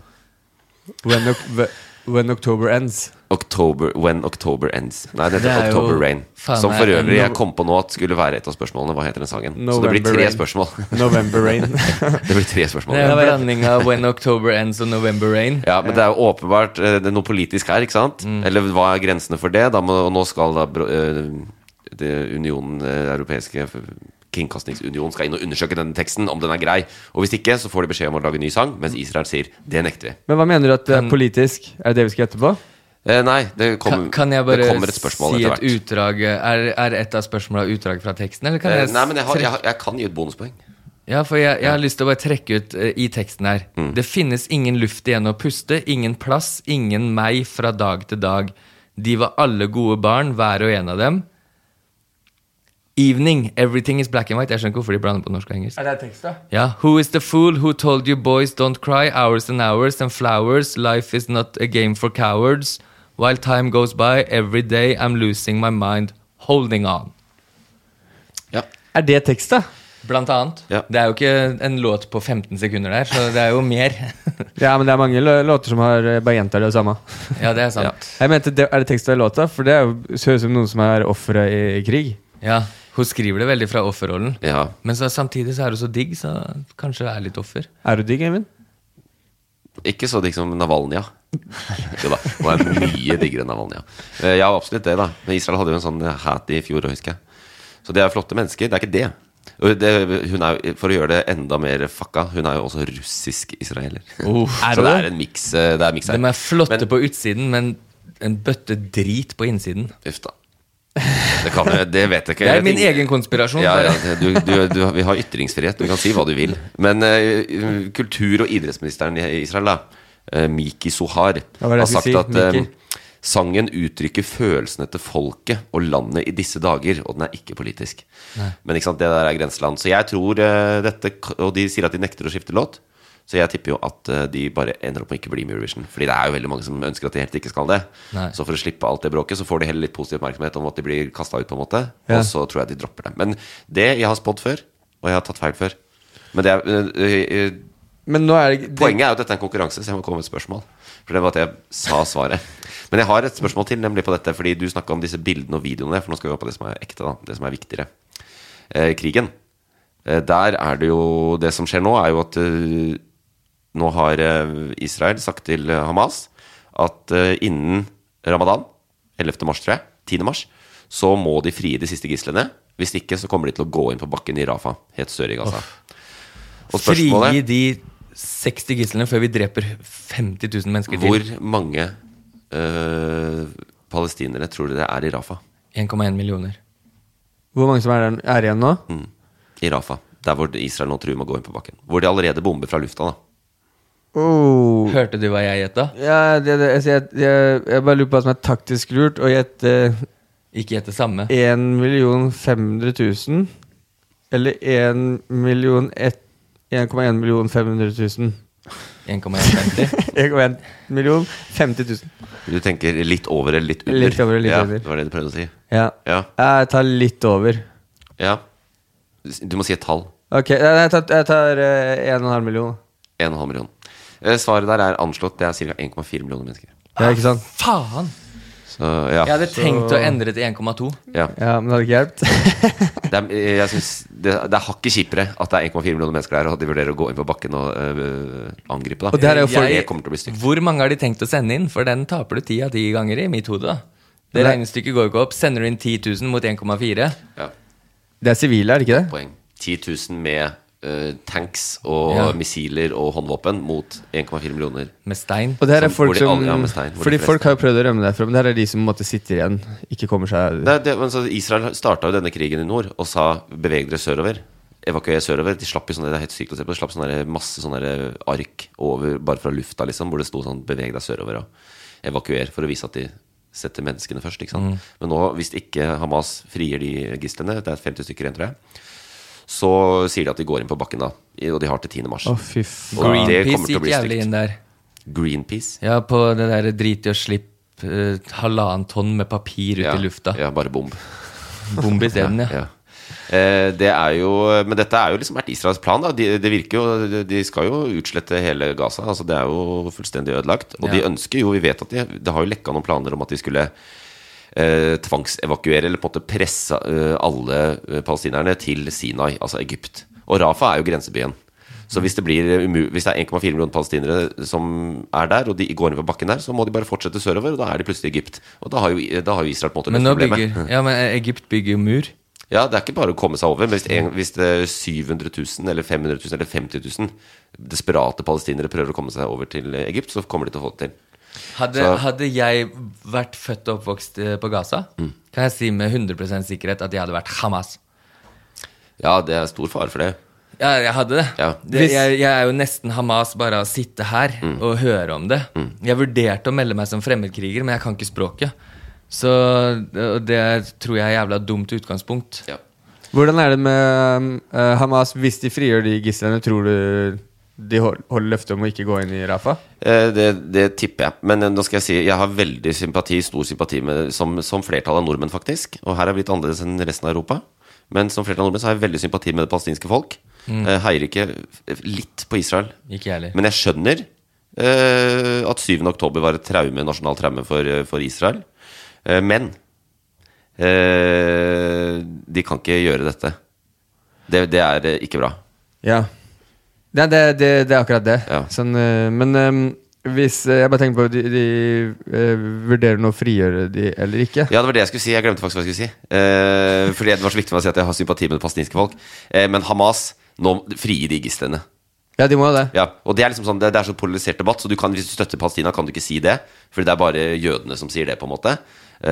[SPEAKER 2] When, oc- when October Ends.
[SPEAKER 3] October, when October Ends. Nei, det
[SPEAKER 2] Det
[SPEAKER 3] heter
[SPEAKER 2] er jo-
[SPEAKER 3] October Rain.
[SPEAKER 2] faen,
[SPEAKER 3] som
[SPEAKER 2] det
[SPEAKER 3] for
[SPEAKER 2] er-
[SPEAKER 3] øvrig jeg
[SPEAKER 2] Nov-
[SPEAKER 3] kom på nå at skulle være et av spørsmålene. Hva heter den sangen? Så det
[SPEAKER 2] November
[SPEAKER 3] blir tre
[SPEAKER 2] Rain.
[SPEAKER 3] spørsmål.
[SPEAKER 2] November Rain.
[SPEAKER 3] det blir tre spørsmål.
[SPEAKER 4] Det er en blanding av When October Ends og November Rain.
[SPEAKER 3] Ja, men det er jo åpenbart eh, det er noe politisk her, ikke sant?
[SPEAKER 4] Mm.
[SPEAKER 3] Eller hva er grensene for det? Da må, og nå skal da bro- eh, det Unionen, eh, europeiske f- kringkastingsunionen, skal inn og undersøke denne teksten, om den er grei. Og hvis ikke, så får de beskjed om å lage en ny sang, mens Israel sier det nekter vi.
[SPEAKER 2] Men hva mener du at det er politisk? Er det det vi skal gjette på?
[SPEAKER 3] Eh, nei, det kommer,
[SPEAKER 4] Kan, kan
[SPEAKER 3] det
[SPEAKER 4] jeg bare
[SPEAKER 3] kommer et spørsmål
[SPEAKER 4] si
[SPEAKER 3] etter
[SPEAKER 4] et
[SPEAKER 3] hvert.
[SPEAKER 4] utdrag er, er et av spørsmåla utdrag fra teksten, eller kan
[SPEAKER 3] Eh,
[SPEAKER 4] jeg
[SPEAKER 3] nei, men jeg, har,
[SPEAKER 4] trekke-
[SPEAKER 3] jeg, har- jeg kan gi et bonuspoeng.
[SPEAKER 4] Ja, for jeg, jeg har lyst til å bare trekke ut eh, i teksten her.
[SPEAKER 2] Mm.
[SPEAKER 4] Det finnes ingen luft igjen å puste, ingen plass, ingen meg fra dag til dag. De var alle gode barn, hver og en av dem. Evening, everything is black and white. Jeg skjønner ikke hvorfor de blander på norsk og engelsk.
[SPEAKER 2] Er det tekst, da?
[SPEAKER 4] Ja, Who is the fool who told you boys don't cry, hours and hours and flowers, life is not a game for cowards. While time goes by, every day I'm losing my mind, holding on.
[SPEAKER 2] Er det tekst, da?
[SPEAKER 4] Blant annet. Det er jo ikke en låt på 15 sekunder der, så det er jo mer.
[SPEAKER 2] Ja, men det er mange lå- låter som har eh, bare gjentar det samme.
[SPEAKER 4] Ja, det er sant.
[SPEAKER 2] Jeg mente, det, Er det tekst av låta? For det er jo- det høres ut som noen som er ofre i, i krig.
[SPEAKER 4] Ja, Hun skriver det veldig fra offerrollen,
[SPEAKER 3] Ja.
[SPEAKER 4] men så, samtidig så er hun så digg, så kanskje hun er litt offer.
[SPEAKER 2] Er du digg, Eivind?
[SPEAKER 3] Ikke så digg som Navalnya. Jo da, hun er mye diggere enn Navalnya. Eh, Ja, absolutt det, da. Men Israel hadde jo en sånn hat i fjor, husker jeg. Så det er flotte mennesker. Det er ikke det. Og det hun er, jo- for å gjøre det enda mer fucka, hun er jo også russisk israeler.
[SPEAKER 4] Oh.
[SPEAKER 3] så
[SPEAKER 4] Er hun
[SPEAKER 3] det
[SPEAKER 4] det?
[SPEAKER 3] er en miks eh, det er en miks her.
[SPEAKER 4] De er flotte på utsiden, men en bøtte drit på innsiden.
[SPEAKER 3] Uff da. Det, kan, jeg- det vet jeg ikke.
[SPEAKER 4] Det er
[SPEAKER 3] Jeg vet
[SPEAKER 4] min
[SPEAKER 3] ikke-
[SPEAKER 4] egen konspirasjon,
[SPEAKER 3] Ja,
[SPEAKER 4] bare.
[SPEAKER 3] ja, det- du, du, du, vi har ytringsfrihet. Du kan si hva du vil. Men eh, kultur- og idrettsministeren i Israel, da, eh, Miki Sohar,
[SPEAKER 2] Ja, hva er det jeg
[SPEAKER 3] har sagt
[SPEAKER 2] skulle si?
[SPEAKER 3] at eh,
[SPEAKER 2] Miki?
[SPEAKER 3] sangen uttrykker følelsene til folket og landet i disse dager, og den er ikke politisk.
[SPEAKER 7] Nei.
[SPEAKER 3] Men ikke sant, det der er grenseland. Så jeg tror eh, dette k- Og de sier at de nekter å skifte låt. Så jeg tipper jo at eh, de bare ender opp med ikke å bli med i Eurovision. Fordi det er jo veldig mange som ønsker at de helt ikke skal det.
[SPEAKER 4] Nei.
[SPEAKER 3] Så for å slippe alt det bråket, så får de heller litt positiv oppmerksomhet om at de blir kasta ut, på en måte.
[SPEAKER 2] Ja.
[SPEAKER 3] Og så tror jeg de dropper det. Men det jeg har spådd før, og jeg har tatt feil før Men det er eh, eh,
[SPEAKER 2] Men nå er det, det
[SPEAKER 3] Poenget er jo at dette er en konkurranse, så jeg må komme med et spørsmål. For det var at jeg sa svaret. Men jeg har et spørsmål til, nemlig på dette, fordi du snakka om disse bildene og videoene, for nå skal vi over på det som er ekte, da. Det som er viktigere. Eh, krigen. Eh, der er det jo Det som skjer nå, er jo at eh, nå har eh, Israel sagt til eh, Hamas at eh, innen ramadan, 11. mars, tror jeg, 10. mars, så må de frie de siste gislene. Hvis ikke så kommer de til å gå inn på bakken i Rafa, helt sør i Gaza. Og spørsmålet-
[SPEAKER 4] Frigi de 60 gislene før vi dreper 50 000 mennesker
[SPEAKER 3] Hvor
[SPEAKER 4] til.
[SPEAKER 3] mange øh, palestinere tror dere er i Rafa?
[SPEAKER 4] 1,1 millioner.
[SPEAKER 2] Hvor mange som er, der, er igjen nå?
[SPEAKER 3] Mm. I Rafa, Der hvor Israel nå truer med å gå inn på bakken. Hvor de allerede bomber fra lufta. da
[SPEAKER 2] Oh.
[SPEAKER 4] Hørte du hva jeg gjetta?
[SPEAKER 2] Ja, det, det, altså, jeg, jeg, jeg bare lurer på hva som er taktisk lurt å gjette
[SPEAKER 4] Ikke gjette samme.
[SPEAKER 2] 1 500 000 eller 1 million ett- 1,1 million 500 000. 1,1 million 50 000.
[SPEAKER 3] Du tenker litt over eller litt under?
[SPEAKER 2] Litt over eller litt
[SPEAKER 3] ja,
[SPEAKER 2] under.
[SPEAKER 3] Det var det du prøvde å si.
[SPEAKER 2] Ja.
[SPEAKER 3] Ja.
[SPEAKER 2] Jeg tar litt over.
[SPEAKER 3] ja. Du må si et tall.
[SPEAKER 2] Ok, nei, nei, jeg tar, jeg tar eh, 1,5 million.
[SPEAKER 3] 1,5 million. Eh, Svaret der er anslått. Det er ca. 1,4 millioner mennesker.
[SPEAKER 2] Ja, ikke sant?
[SPEAKER 4] Faen!
[SPEAKER 3] Så, ja.
[SPEAKER 4] Jeg hadde tenkt å endre til 1,2.
[SPEAKER 3] Ja.
[SPEAKER 2] men det hadde ikke hjulpet.
[SPEAKER 3] Det er, eh, jeg synes det, det er hakket kjipere at det er 1,4 millioner mennesker der, og at de vurderer å gå inn på bakken og øh, angripe. Da. det kommer til å bli stygt.
[SPEAKER 4] Hvor mange har de tenkt å sende inn? For den taper du 10 av 10 ganger i mitt hode. da.
[SPEAKER 2] Men
[SPEAKER 4] Det
[SPEAKER 2] det-
[SPEAKER 4] regnestykket går jo ikke opp. Sender du inn 10 000 mot 1,4
[SPEAKER 2] Det er sivile, er det ikke det?
[SPEAKER 3] Poeng. 10 000 med øh, tanks og
[SPEAKER 2] Ja.
[SPEAKER 3] missiler og håndvåpen mot 1,4 millioner.
[SPEAKER 4] med stein
[SPEAKER 2] Og det her er
[SPEAKER 3] Som- hvor
[SPEAKER 2] folk
[SPEAKER 3] de
[SPEAKER 2] som
[SPEAKER 3] alle- ja, med stein, hvor de
[SPEAKER 2] Fordi
[SPEAKER 3] fleste-
[SPEAKER 2] folk har jo prøvd å rømme derfra, men det her er de som på en måte sitter igjen, ikke kommer seg
[SPEAKER 3] Nei, det, men så Israel starta jo denne krigen i nord og sa 'beveg dere sørover'. Evakuer sørover. De slapp jo sånne, det er helt sykt å se på, de slapp sånne der, masse sånne der eh, ark over bare fra lufta, liksom, hvor det sto sånn 'beveg deg sørover' og evakuer, for å vise at de setter menneskene først. Ikke sant?
[SPEAKER 4] Mm.
[SPEAKER 3] Men nå, hvis ikke Hamas frier de gislene, det er 50 stykker igjen, tror jeg, så sier de at de går inn på bakken da, i- og de har til 10. mars.
[SPEAKER 2] Å, fy faen.
[SPEAKER 3] Og det kommer
[SPEAKER 4] Greenpeace
[SPEAKER 3] til å
[SPEAKER 4] gikk
[SPEAKER 3] bli
[SPEAKER 4] jævlig
[SPEAKER 3] stygt.
[SPEAKER 4] inn der.
[SPEAKER 3] Greenpeace?
[SPEAKER 4] Ja, på det der drit i å slippe eh, halvannen tonn med papir ut
[SPEAKER 3] Ja,
[SPEAKER 4] i lufta.
[SPEAKER 3] Ja, bare bomb.
[SPEAKER 4] Bomb isteden, ja.
[SPEAKER 3] ja. Eh, Det er jo, men dette er jo liksom vært Israels plan. Da. De, det virker jo, de skal jo utslette hele Gaza. Altså det er jo fullstendig ødelagt. Og de
[SPEAKER 4] Ja.
[SPEAKER 3] ønsker jo, vi vet at de Det har jo lekka noen planer om at de skulle eh, tvangsevakuere, eller på en måte presse eh, alle eh, palestinerne til Sinai, altså Egypt. Og Rafa er jo grensebyen. Så hvis det, blir, umu- hvis det er 1,4 millioner palestinere som er der, og de går inn på bakken der, så må de bare fortsette sørover, og da er de plutselig i Egypt. Og da har jo, da har jo Israel på en måte løst
[SPEAKER 4] Men nå
[SPEAKER 3] problemet.
[SPEAKER 4] bygger Ja, men Egypt bygger jo mur.
[SPEAKER 3] Ja, det er ikke bare å komme seg over. Men hvis, en, hvis det er 700 000 eller 500 000 eller 50 000 desperate palestinere prøver å komme seg over til Egypt, så kommer de til å få det til.
[SPEAKER 4] Hadde,
[SPEAKER 3] Så-
[SPEAKER 4] hadde jeg vært født og oppvokst eh, på Gaza,
[SPEAKER 3] Mm.
[SPEAKER 4] kan jeg si med 100 sikkerhet at jeg hadde vært Hamas.
[SPEAKER 3] Ja, det er stor fare for det.
[SPEAKER 4] Ja, jeg hadde det.
[SPEAKER 3] Ja.
[SPEAKER 4] det jeg, jeg er jo nesten Hamas bare av å sitte her
[SPEAKER 3] Mm.
[SPEAKER 4] og høre om det. Jeg vurderte å melde meg som fremmedkriger, men jeg kan ikke språket. Så og det tror jeg er jævla dumt utgangspunkt.
[SPEAKER 2] Hvordan er det med um, eh, Hamas? Hvis de frigjør de gislene, tror du de hol- holder løftet om å ikke gå inn i Rafa?
[SPEAKER 3] Eh, Det, det tipper jeg. Men eh, nå skal jeg si jeg har veldig sympati, stor sympati med, som, som flertallet av nordmenn, faktisk. Og her er vi litt annerledes enn resten av Europa. Men som flertall av nordmenn så har jeg veldig sympati med det palestinske folk.
[SPEAKER 4] Mm.
[SPEAKER 3] Eh, Heier ikke eh, litt på Israel.
[SPEAKER 4] Ikke jeg heller.
[SPEAKER 3] Men jeg skjønner eh, at 7. oktober var et traume, nasjonalt traume for, for Israel. Eh, men eh, de kan ikke gjøre dette. Det, det er eh, ikke bra.
[SPEAKER 2] Ja. Nei, det, det, det er akkurat det. Sånn, eh, men eh, hvis eh, Jeg bare tenker på De, de eh, vurderer nå å frigjøre de eller ikke.
[SPEAKER 3] Ja, det var det jeg skulle si. Jeg glemte faktisk hva jeg skulle si. Eh, fordi det var så viktig for meg å si at jeg har sympati med det palestinske folk. Eh, men Hamas, nå frigir de gislene.
[SPEAKER 2] Ja, de må jo det.
[SPEAKER 3] Ja, og det er liksom sånn, det, det er så polarisert debatt, så du kan, hvis du støtter Palestina, kan du ikke si det. Fordi det er bare jødene som sier det, på en måte. Eh,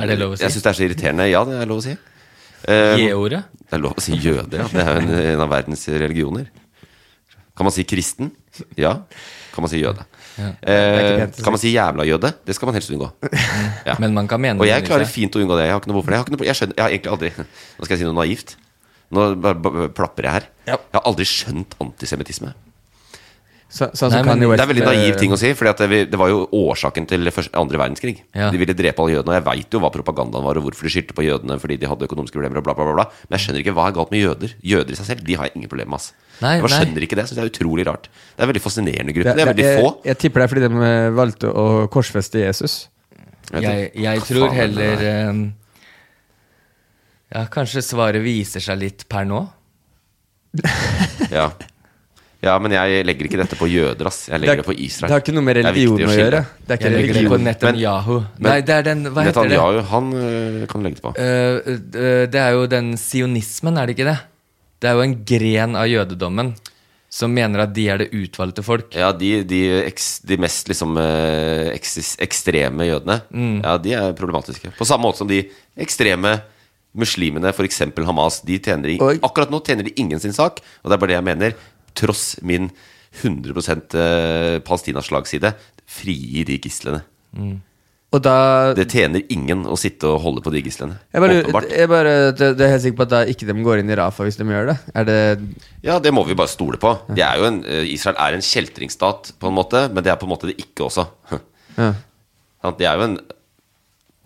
[SPEAKER 4] Er det lov å si?
[SPEAKER 3] Jeg syns det er så irriterende. Ja, det er lov å si. Eh,
[SPEAKER 4] J-ordet?
[SPEAKER 3] Det er lov å si jøde, ja. Det er jo en, en av verdens religioner. Kan man si kristen? Ja. Kan man si jøde?
[SPEAKER 4] Ja. Det er ikke
[SPEAKER 3] Eh,
[SPEAKER 4] pent å si.
[SPEAKER 3] kan man si jævla jøde? Det skal man helst unngå. Ja.
[SPEAKER 4] Men man kan mene
[SPEAKER 3] Og
[SPEAKER 4] det,
[SPEAKER 3] jeg
[SPEAKER 4] ikke
[SPEAKER 3] klarer
[SPEAKER 4] sant?
[SPEAKER 3] fint å unngå det. Jeg har ikke noe behov for det. Jeg har, ikke noe, jeg skjønner, jeg har egentlig aldri Nå skal jeg si noe naivt. Nå bare, bare plapper jeg her. Jeg har aldri skjønt antisemittisme.
[SPEAKER 2] Så, sånn som Kanye West
[SPEAKER 3] Det er veldig
[SPEAKER 2] eh,
[SPEAKER 3] naiv ting å si, for det, vi- det var jo årsaken til første, andre verdenskrig.
[SPEAKER 2] Ja.
[SPEAKER 3] De ville drepe alle jødene, og jeg veit jo hva propagandaen var, og hvorfor de skyldte på jødene fordi de hadde økonomiske problemer, og bla, bla, bla. bla. Men jeg skjønner ikke hva er galt med jøder. Jøder i seg selv, de har jeg ingen problemer med, ass.
[SPEAKER 2] Nei,
[SPEAKER 3] jeg bare
[SPEAKER 2] nei.
[SPEAKER 3] skjønner ikke det. Jeg synes det er utrolig rart. Det er en veldig fascinerende gruppe.
[SPEAKER 2] det-
[SPEAKER 3] Det er
[SPEAKER 2] det-
[SPEAKER 3] veldig få.
[SPEAKER 2] eh, Jeg, jeg tipper det er fordi de eh, valgte å korsfeste Jesus.
[SPEAKER 4] Jeg, jeg tror heller eh, Ja, kanskje svaret viser seg litt per nå.
[SPEAKER 3] Ja. ja, men jeg legger ikke dette på jøder, ass. Jeg legger
[SPEAKER 2] Det
[SPEAKER 3] det,
[SPEAKER 2] er-
[SPEAKER 3] på Israel.
[SPEAKER 2] det har ikke noe med
[SPEAKER 3] Det er viktig
[SPEAKER 2] religion å
[SPEAKER 3] skille.
[SPEAKER 2] gjøre. Det er ikke Jeg legger det på religion. Netanyahu. Nei, det er den- hva heter det?
[SPEAKER 3] Netanyahu, han øh, kan du legge det på.
[SPEAKER 4] Eh, eh, det er jo den sionismen, er det ikke det? Det er jo en gren av jødedommen som mener at de er det utvalgte folk.
[SPEAKER 3] Ja, de, de, eks, de mest liksom eh, eksis, ekstreme jødene,
[SPEAKER 4] Mm.
[SPEAKER 3] ja, de er problematiske. På samme måte som de ekstreme muslimene, f.eks. Hamas, de tjener i, akkurat nå tjener de ingen sin sak, og det er bare det jeg mener. Tross min 100 eh, Palestina-slagside, frigir de gislene.
[SPEAKER 2] Og da
[SPEAKER 3] Det tjener ingen å sitte og holde på de gislene.
[SPEAKER 2] jeg bare,
[SPEAKER 3] Åpenbart.
[SPEAKER 2] jeg bare, det, det er helt sikker på at da ikke de går inn i Rafa hvis de gjør det. Er det
[SPEAKER 3] Ja, det må vi bare stole på. De er jo en, eh, Israel er en kjeltringsstat, på en måte, men det er på en måte det ikke også.
[SPEAKER 2] Ja.
[SPEAKER 3] Sant? Det er jo en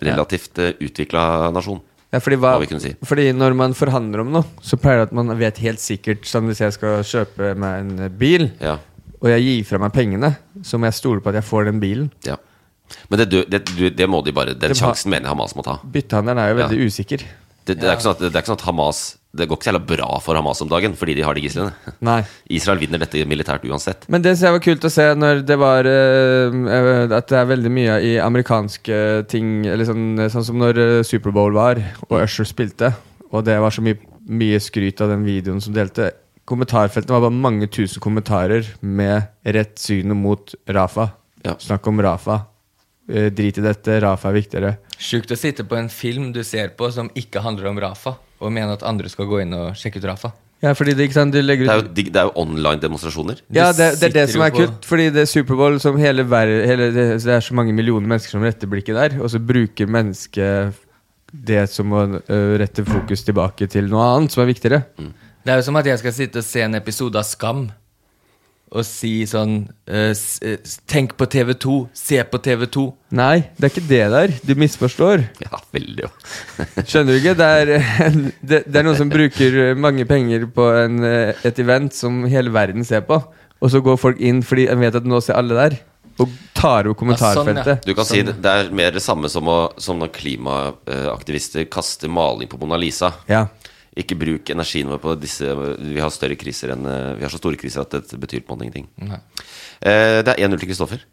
[SPEAKER 3] relativt uh, utvikla nasjon,
[SPEAKER 2] Ja, fordi, hva,
[SPEAKER 3] må vi kunne si.
[SPEAKER 2] fordi når man forhandler om noe, så pleier det at man vet helt sikkert Sånn hvis jeg skal kjøpe meg en bil,
[SPEAKER 3] Ja.
[SPEAKER 2] og jeg gir fra meg pengene, så må jeg stole på at jeg får den bilen.
[SPEAKER 3] Ja. Men det, dø- det, du- det må de bare Den
[SPEAKER 2] Det må-
[SPEAKER 3] sjansen mener jeg Hamas må ta.
[SPEAKER 2] Byttehandelen er jo veldig
[SPEAKER 3] Ja.
[SPEAKER 2] usikker.
[SPEAKER 3] Det, det, er ikke sånn at, det er ikke sånn at Hamas Det går ikke så jævla bra for Hamas om dagen fordi de har de gislene.
[SPEAKER 2] Nei.
[SPEAKER 3] Israel vinner dette militært uansett.
[SPEAKER 2] Men det synes jeg var kult å se når det var eh, eh, At det er veldig mye i amerikanske ting eller sånn, sånn som når eh, Superbowl var, og Usher spilte, og det var så mye, mye skryt av den videoen som delte. Kommentarfeltene var bare mange tusen kommentarer med rett synet mot Rafa. Snakk om Rafa. Eh, drit i dette, Rafa er viktigere.
[SPEAKER 4] Sjukt å sitte på en film du ser på som ikke handler om Rafa, og mene at andre skal gå inn og sjekke ut Rafa.
[SPEAKER 2] Ja, fordi det, ikke sant, de legger
[SPEAKER 3] Det
[SPEAKER 2] ut
[SPEAKER 3] er jo, dig- det er jo online demonstrasjoner.
[SPEAKER 2] Ja, det, det er det
[SPEAKER 4] sitter
[SPEAKER 2] som
[SPEAKER 4] jo
[SPEAKER 2] er
[SPEAKER 4] på-
[SPEAKER 2] kult. Fordi det er Superbowl som hele, ver- hele det, det er så mange millioner mennesker som retter blikket der, og så bruker mennesket det som å ø, rette fokus tilbake til noe annet som er viktigere.
[SPEAKER 4] Det er jo som at jeg skal sitte og se en episode av Skam og si sånn eh, s- eh, Tenk på TV2, se på TV2.
[SPEAKER 2] Nei, det er ikke det der. Du misforstår.
[SPEAKER 3] Ja, veldig jo.
[SPEAKER 2] Skjønner du ikke? Det er, en- det, det er noen som bruker mange penger på en, eh, et event som hele verden ser på, og så går folk inn fordi en vet at nå ser alle der, og tar over kommentarfeltet.
[SPEAKER 3] Du kan si det, det er mer det samme som, å, som når klimaaktivister kaster maling på Mona Lisa.
[SPEAKER 2] Ja.
[SPEAKER 3] Ikke bruk energien vår på disse Vi har større kriser enn eh, Vi har så store kriser at dette betyr på en måte ingenting.
[SPEAKER 2] Nei.
[SPEAKER 3] Eh, Det er 1-0 til Kristoffer.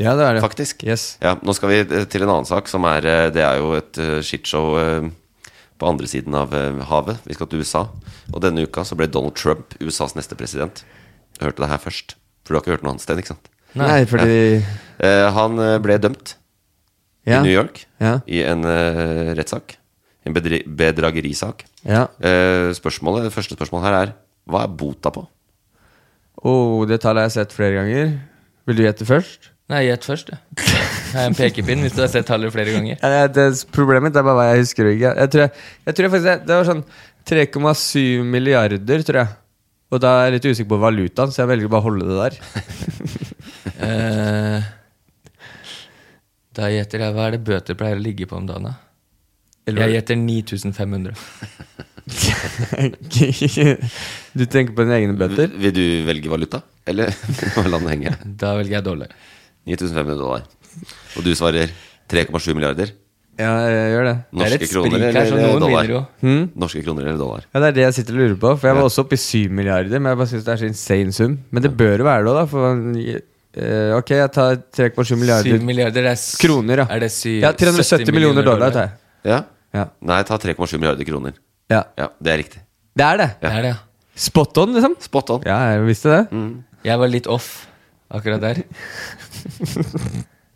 [SPEAKER 2] Ja, det er det.
[SPEAKER 3] Faktisk.
[SPEAKER 2] Yes.
[SPEAKER 3] Ja, nå skal vi eh, til en annen sak, som er eh, Det er jo et eh, shitshow eh, på andre siden av eh, havet. Vi skal til USA. Og denne uka så ble Donald Trump USAs neste president. Du hørte det her først. For du har ikke hørt noe annet sted, ikke sant?
[SPEAKER 2] Nei, fordi-
[SPEAKER 3] Ja. Eh, Han eh, ble dømt i
[SPEAKER 2] Ja.
[SPEAKER 3] New York
[SPEAKER 2] Ja.
[SPEAKER 3] i en eh, rettssak. En bedri- bedragerisak.
[SPEAKER 2] Ja.
[SPEAKER 3] Eh, Spørsmålet, det første spørsmålet her er hva er bota på?
[SPEAKER 2] Oh, det tallet har jeg sett flere ganger. Vil du gjette først?
[SPEAKER 4] Nei, gjett først, du. Det er en pekepinn hvis du har sett tallet flere ganger.
[SPEAKER 2] Ja, det, problemet mitt er bare hva jeg husker. Ikke? Jeg tror, jeg, jeg tror faktisk det, det var sånn 3,7 milliarder, tror jeg. Og da er jeg litt usikker på valutaen, så jeg velger bare å holde det der.
[SPEAKER 4] Eh, da gjetter jeg Hva er det bøter pleier å ligge på om dagen, da?
[SPEAKER 2] Eller-
[SPEAKER 4] Jeg gjetter 9500.
[SPEAKER 2] du tenker på dine egne bøter?
[SPEAKER 3] Vil du velge valuta, eller hva landet henge?
[SPEAKER 4] Da velger jeg dollar.
[SPEAKER 3] 9500 dollar. Og du svarer 3,7 milliarder?
[SPEAKER 2] Ja, jeg gjør det.
[SPEAKER 3] Norske kroner eller dollar?
[SPEAKER 2] Hmm?
[SPEAKER 3] Norske kroner eller dollar?
[SPEAKER 2] Ja, Det er det jeg sitter og lurer på. For jeg var også oppe i 7 milliarder. Men jeg bare synes det er så insane sum. Men det bør jo være det òg, da. For man, eh, ok, jeg tar 3,7 milliarder.
[SPEAKER 4] Syv milliarder er s-
[SPEAKER 2] kroner, ja.
[SPEAKER 4] er det syv-
[SPEAKER 2] ja 370 millioner dollar, tar jeg.
[SPEAKER 3] Ja?
[SPEAKER 2] Ja.
[SPEAKER 3] Nei, ta 3,7 milliarder kroner.
[SPEAKER 2] Ja.
[SPEAKER 3] Det er riktig.
[SPEAKER 2] Det er det.
[SPEAKER 3] Ja. Det er det,
[SPEAKER 2] Spot on, liksom.
[SPEAKER 3] Spot on.
[SPEAKER 2] Ja, jeg visste det.
[SPEAKER 4] Jeg var litt off akkurat der.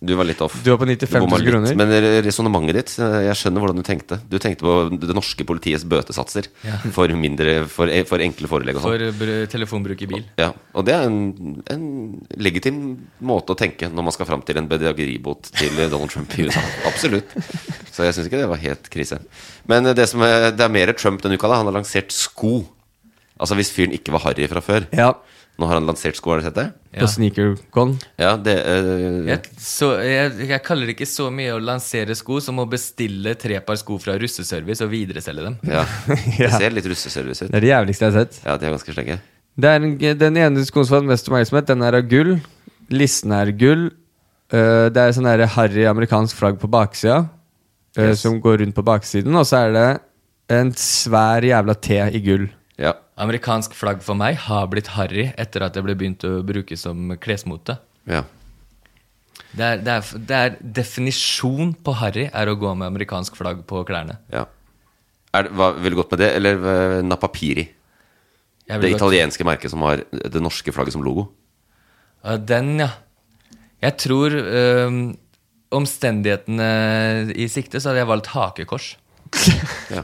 [SPEAKER 3] Du var litt off.
[SPEAKER 2] Du var på 95 000
[SPEAKER 3] bomma litt,
[SPEAKER 2] kroner.
[SPEAKER 3] Men resonnementet ditt, eh, jeg skjønner hvordan du tenkte. Du tenkte på det norske politiets bøtesatser
[SPEAKER 4] Ja.
[SPEAKER 3] for, mindre, for, eh, for enkle forelegg og
[SPEAKER 4] For
[SPEAKER 3] sånn.
[SPEAKER 4] br- telefonbruk i bil.
[SPEAKER 3] Ja, og det er en, en legitim måte å tenke når man skal fram til en bedrageribot til Donald Trump i USA. Absolutt. Så jeg syns ikke det var helt krise. Men det, som er, det er mer Trump denne uka. da Han har lansert sko. Altså hvis fyren ikke var harry fra før. Nå har han lansert sko, har du sett det?
[SPEAKER 2] På sneakercon.
[SPEAKER 3] Ja, det eh,
[SPEAKER 4] Jeg, så, jeg, jeg kaller det ikke så mye å lansere sko som å bestille tre par sko fra russeservice og videreselge dem.
[SPEAKER 3] ja. Det
[SPEAKER 2] Ja.
[SPEAKER 3] ser litt russeservice ut.
[SPEAKER 2] Det er det jævligste jeg har sett.
[SPEAKER 3] Ja, de er ganske slenge.
[SPEAKER 2] Det er en, den ene skoen som har mest oppmerksomhet, den er av gull. Listen er gull. Eh, det er sånn der harry amerikansk flagg på baksida, eh,
[SPEAKER 4] Yes.
[SPEAKER 2] som går rundt på baksiden. Og så er det en svær jævla T i gull.
[SPEAKER 4] Amerikansk flagg for meg har blitt harry etter at det ble begynt å bruke som klesmote.
[SPEAKER 3] Ja.
[SPEAKER 4] Det er, det, er, det er definisjon på harry er å gå med amerikansk flagg på klærne.
[SPEAKER 3] Ja. Er det, hva, vil du gått med det, eller eh, Napapiri?
[SPEAKER 4] Jeg
[SPEAKER 3] Det
[SPEAKER 4] ville gått-
[SPEAKER 3] italienske merket som har det norske flagget som logo.
[SPEAKER 4] Ja, den, ja. Jeg tror øhm, omstendighetene i sikte, så hadde jeg valgt hakekors.
[SPEAKER 3] Ja.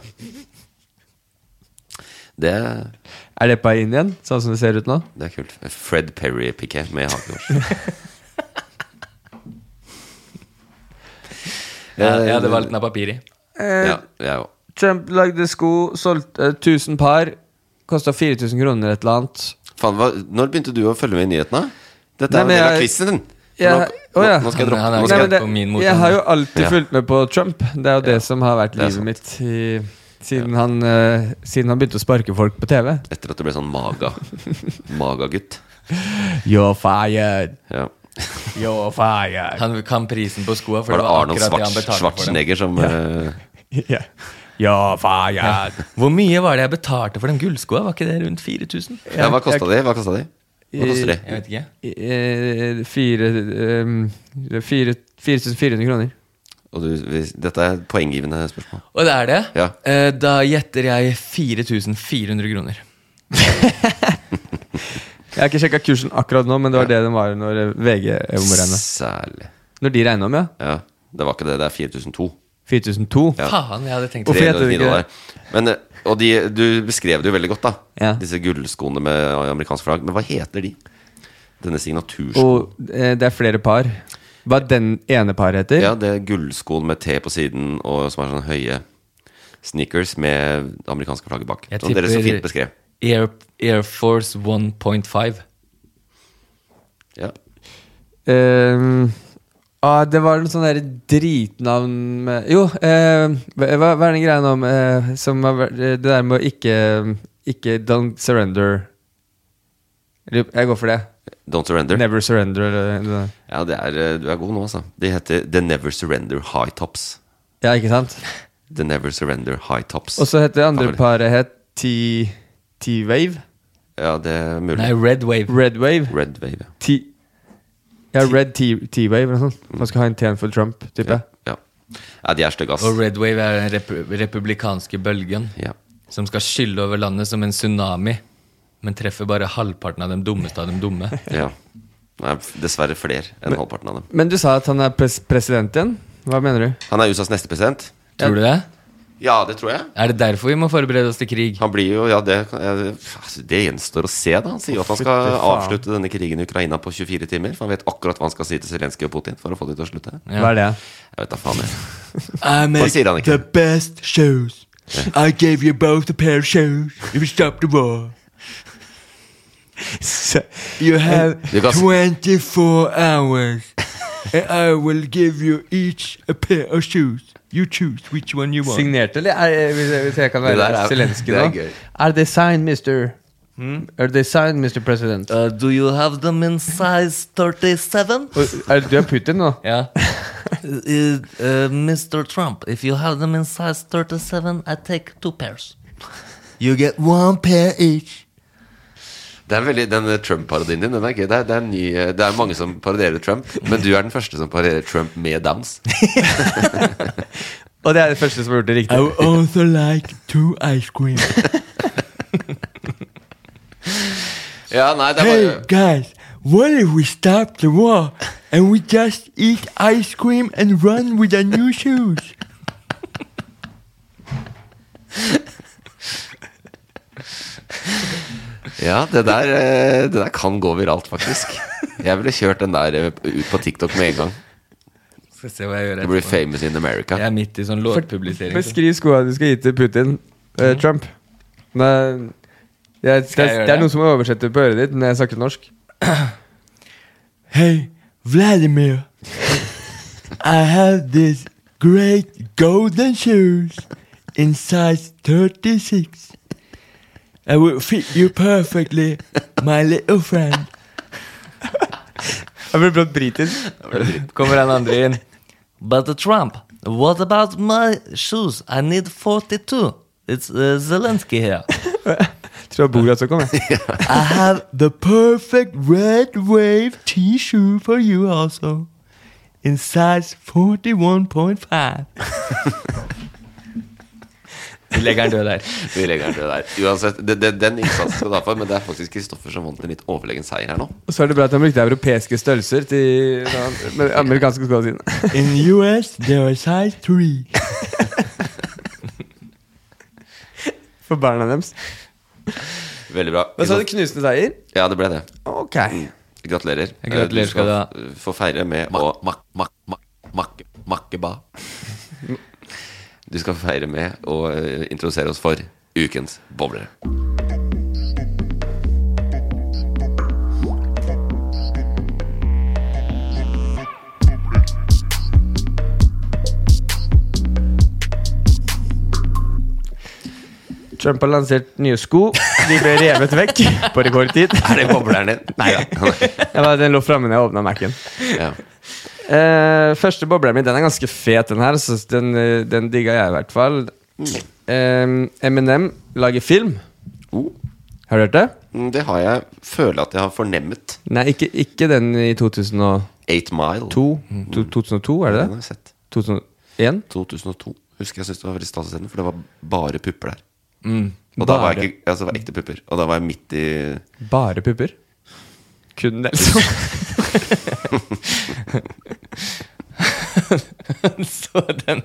[SPEAKER 3] Det,
[SPEAKER 2] Er det på inn igjen, sånn som det ser ut nå?
[SPEAKER 3] det er kult. Fred Perry-piké med hakekors.
[SPEAKER 4] Ja, jeg hadde valgt napapiri.
[SPEAKER 2] Eh,
[SPEAKER 3] Ja, jeg òg.
[SPEAKER 2] Trump lagde sko, solgte eh, 1000 par. Kosta 4000 kroner et eller annet.
[SPEAKER 3] Faen, hva, når begynte du å følge med i nyhetene? Dette
[SPEAKER 2] Nei,
[SPEAKER 3] er en
[SPEAKER 2] men
[SPEAKER 3] del av
[SPEAKER 2] jeg-
[SPEAKER 3] quizen din!
[SPEAKER 2] Jeg,
[SPEAKER 3] nå,
[SPEAKER 2] å ja.
[SPEAKER 3] nå, nå skal jeg droppe
[SPEAKER 4] Han er- han er
[SPEAKER 3] nå
[SPEAKER 2] Nei,
[SPEAKER 3] skal
[SPEAKER 2] men
[SPEAKER 3] jeg-
[SPEAKER 4] på min motstand.
[SPEAKER 2] jeg har jo alltid
[SPEAKER 3] Ja.
[SPEAKER 2] fulgt med på Trump. Det er jo det som har vært livet mitt i, siden, han, eh, siden han begynte å sparke folk på TV.
[SPEAKER 3] Etter at du ble sånn maga Maga-gutt.
[SPEAKER 2] You're fired.
[SPEAKER 3] Ja.
[SPEAKER 4] Yo, fire. Han kan prisen på skoa, for
[SPEAKER 3] Var
[SPEAKER 4] det
[SPEAKER 3] det
[SPEAKER 4] var
[SPEAKER 3] Arnold
[SPEAKER 4] akkurat det han
[SPEAKER 3] Schwarz-
[SPEAKER 4] betalte for dem.
[SPEAKER 3] Schwarzenegger som eh,
[SPEAKER 4] Ja. Ja, fire. Hvor mye var det jeg betalte for de gullskoa? Var ikke det rundt 4000?
[SPEAKER 3] Ja, hva kosta de? Hva kosta de? Hva koster de?
[SPEAKER 4] Jeg vet ikke.
[SPEAKER 2] Eh, Fire ehm, fire- 4400 kroner.
[SPEAKER 3] Og du, hvis- dette er et poenggivende spørsmål.
[SPEAKER 4] Og det er det?
[SPEAKER 3] Ja.
[SPEAKER 4] Eh, Da gjetter jeg 4400 kroner.
[SPEAKER 2] Jeg har ikke sjekka kursen akkurat nå, men det var det den var når eh, VG regna.
[SPEAKER 3] Særlig.
[SPEAKER 2] Når de regna om, ja.
[SPEAKER 3] Ja, det var ikke det. Det er 4002.
[SPEAKER 2] 4002?
[SPEAKER 3] Ja.
[SPEAKER 4] Faen, jeg hadde tenkt
[SPEAKER 2] Hvorfor heter det
[SPEAKER 3] 309
[SPEAKER 2] ikke
[SPEAKER 3] dollar.
[SPEAKER 2] det?
[SPEAKER 3] Men, eh, og de, du beskrev det jo veldig godt, da.
[SPEAKER 2] Ja.
[SPEAKER 3] Disse gullskoene med amerikansk flagg. Men hva heter de? Denne signaturskoen.
[SPEAKER 2] Og eh, det er flere par. Hva den ene paret heter?
[SPEAKER 3] Ja, det er gullskoen med T på siden, og som er sånne høye sneakers med det amerikanske flagget bak.
[SPEAKER 4] Jeg
[SPEAKER 3] Som dere så fint beskrev.
[SPEAKER 4] Air, Air Force 1.5.
[SPEAKER 3] Ja.
[SPEAKER 2] Ehm, ah, det var noe sånn der dritnavn med Jo, eh, hva, hva er den greia nå med eh, som har vært- eh, Det der med å ikke Ikke don't surrender. Eller, Jeg går for det.
[SPEAKER 3] Don't surrender.
[SPEAKER 2] Never surrender. Eller, eller.
[SPEAKER 3] Ja, det er, eh, du er god nå, altså. De heter The Never Surrender High Tops.
[SPEAKER 2] Ja, ikke sant?
[SPEAKER 3] The Never Surrender High Tops.
[SPEAKER 2] Og så heter det andre
[SPEAKER 3] Favoritt.
[SPEAKER 2] paret het T- T-Wave.
[SPEAKER 3] Ja, det er mulig.
[SPEAKER 4] Nei, Red Wave.
[SPEAKER 2] Red Wave.
[SPEAKER 3] Red Wave. ja.
[SPEAKER 2] T ja, Red T- T-Wave. eller noe sånt. Man skal ha en T-en for Trump, tipper jeg.
[SPEAKER 3] Ja. ja, de er stygge, ass.
[SPEAKER 4] Og Red Wave er den rep republikanske bølgen
[SPEAKER 3] Ja.
[SPEAKER 4] som skal skylle over landet som en tsunami, men treffer bare halvparten av de dummeste av de dumme.
[SPEAKER 3] Ja. Det er dessverre flere enn halvparten av dem.
[SPEAKER 2] Men du sa at han er pres president igjen? Hva mener du?
[SPEAKER 3] Han er USAs neste president.
[SPEAKER 4] Tror du det?
[SPEAKER 3] Ja, det tror jeg.
[SPEAKER 4] Er det derfor vi må forberede oss til krig?
[SPEAKER 3] Han blir jo, ja, det, eh, altså, det gjenstår å se, da. Han sier jo at han skal
[SPEAKER 2] Fytti faen.
[SPEAKER 3] avslutte denne krigen i Ukraina på 24 timer. For han vet akkurat hva han skal si til Zelenskyj og Putin for å få de til å slutte.
[SPEAKER 4] Ja.
[SPEAKER 2] Hva er det?
[SPEAKER 3] Jeg vet da faen. jeg.
[SPEAKER 5] I
[SPEAKER 3] Hva
[SPEAKER 5] make
[SPEAKER 3] sier han
[SPEAKER 5] the
[SPEAKER 3] ikke?
[SPEAKER 5] best shoes. I gave you both a pair of shoes if you stop the war. You have
[SPEAKER 3] You got-
[SPEAKER 5] 24 hours, and I will give you each a pair of shoes. You choose which one you want.
[SPEAKER 2] Signert, eller? Er, hvis, jeg, hvis jeg kan
[SPEAKER 3] Det der
[SPEAKER 2] være
[SPEAKER 3] er-
[SPEAKER 2] Zelenskyj
[SPEAKER 3] det er
[SPEAKER 2] nå?
[SPEAKER 3] gøy.
[SPEAKER 2] Er they signed, mister? Er they signed, Mr. President?
[SPEAKER 4] Uh, do you have them in size 37?
[SPEAKER 2] Og Er, du er Putin nå?
[SPEAKER 4] Ja. Uh, uh, Mr. Trump, if you have them in size 37, I take two pairs.
[SPEAKER 5] You get one pair each.
[SPEAKER 3] Det er veldig, Den eh, Trump-parodien din den er gøy. Det er, det, er ny, eh, det er mange som parodierer Trump, men du er den første som parodierer Trump med downs.
[SPEAKER 2] Og det er det første som har gjort det
[SPEAKER 5] I
[SPEAKER 2] riktig.
[SPEAKER 5] would also like two ice cream.
[SPEAKER 3] Ja, nei, det er bare
[SPEAKER 5] Hey guys, what if we stop the war and we just eat ice cream and run with our new shoes?
[SPEAKER 3] Ja, det der, eh, det der kan gå viralt, faktisk. Jeg ville kjørt den der eh, ut på TikTok med en gang.
[SPEAKER 4] Skal se hva jeg gjør
[SPEAKER 3] Det blir famous in America.
[SPEAKER 4] Jeg er midt i sånn låtpublisering. så-
[SPEAKER 2] Beskriv skoa du skal gi til Putin. eh, Trump. Nei, jeg skal,
[SPEAKER 4] Skal jeg gjøre
[SPEAKER 2] det er
[SPEAKER 4] det?
[SPEAKER 2] noen som må oversette på øret ditt når jeg snakker norsk.
[SPEAKER 5] Hey, Vladimir, I have these great golden shoes in size 36. I will fit you perfectly, my little friend.
[SPEAKER 2] Jeg blir brått britisk.
[SPEAKER 4] Kommer han andre inn. But the Trump, what about my shoes? I need 42. It's uh, Zelensky here.
[SPEAKER 2] Tror jeg Borat som kom, jeg.
[SPEAKER 5] I have the perfect red wave t shirt for you also in size 41.5.
[SPEAKER 4] Vi legger den død der.
[SPEAKER 3] Vi legger den til det der. Uansett, det, det, den innsatsen skal du ha for, men det er faktisk Kristoffer som vant en litt overlegen seier her nå.
[SPEAKER 2] Og så er det bra at han brukte europeiske størrelser til den amerikanske skoa sine.
[SPEAKER 5] In US, they are size 3.
[SPEAKER 2] For barna deres.
[SPEAKER 3] Veldig bra.
[SPEAKER 2] Hva sa du? Knusende seier?
[SPEAKER 3] Ja, det ble det.
[SPEAKER 2] Ok.
[SPEAKER 3] Gratulerer.
[SPEAKER 4] Jeg gratulerer
[SPEAKER 3] Eh,
[SPEAKER 4] skal du ha.
[SPEAKER 3] eh, få feire med å mak, mak, mak, mak, Makkeba. Du skal få feire med å eh, introdusere oss for ukens bowlere.
[SPEAKER 2] Trump har lansert nye sko. De ble revet vekk på rekordtid.
[SPEAKER 3] Er det bobleren din? Nei da.
[SPEAKER 2] Jeg bare- Den lå framme da jeg åpna Mac-en.
[SPEAKER 3] Ja.
[SPEAKER 2] Eh, første bobleren min, den er ganske fet, den her. Så den, eh, den digga jeg i hvert fall. Eh, Eminem lager film.
[SPEAKER 4] Oh.
[SPEAKER 2] Har du hørt det?
[SPEAKER 3] Mm, Det har jeg føler at jeg har fornemmet.
[SPEAKER 2] Nei, ikke, ikke den i 2002.
[SPEAKER 3] Eight Mile.
[SPEAKER 4] Mm.
[SPEAKER 2] To, 2002, er det
[SPEAKER 3] Den har jeg
[SPEAKER 2] det? 2001?
[SPEAKER 3] 2002. Husker jeg syntes det var veldig stas å se den, for det var bare pupper der.
[SPEAKER 2] Mm,
[SPEAKER 3] og da var
[SPEAKER 2] bare.
[SPEAKER 3] jeg ikke altså, det var ekte pupper. Og da var jeg midt i
[SPEAKER 2] Bare pupper? Kun det, liksom.
[SPEAKER 4] så den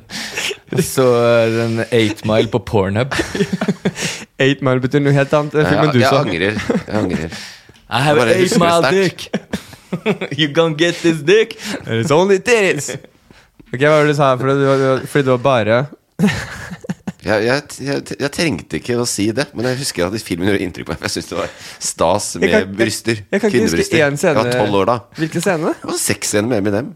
[SPEAKER 4] Så den 8 Mile på Pornhub.
[SPEAKER 2] 8 Mile betyr noe helt annet. Den
[SPEAKER 3] Jeg,
[SPEAKER 2] filmen du
[SPEAKER 3] jeg
[SPEAKER 2] så.
[SPEAKER 3] angrer. Jeg angrer.
[SPEAKER 4] I have
[SPEAKER 3] Bare
[SPEAKER 4] eight
[SPEAKER 3] husker det
[SPEAKER 4] mile dick.
[SPEAKER 3] sterkt.
[SPEAKER 4] you gonna get this dick?
[SPEAKER 2] It's only titties. Ok, Hva var det du sa? Fordi du, var- fordi du var bare
[SPEAKER 3] Jeg, jeg, jeg, jeg trengte ikke å si det, men jeg husker at filmen gjorde inntrykk på meg. for Jeg syntes det var stas
[SPEAKER 2] Jeg
[SPEAKER 3] med
[SPEAKER 2] kan- jeg-
[SPEAKER 3] bryster.
[SPEAKER 2] jeg kan ikke huske
[SPEAKER 3] kvinnebryster.
[SPEAKER 2] én
[SPEAKER 3] Jeg
[SPEAKER 2] scene-
[SPEAKER 3] var tolv år da.
[SPEAKER 2] Hvilken scene?
[SPEAKER 3] Det var sexscene med Eminem.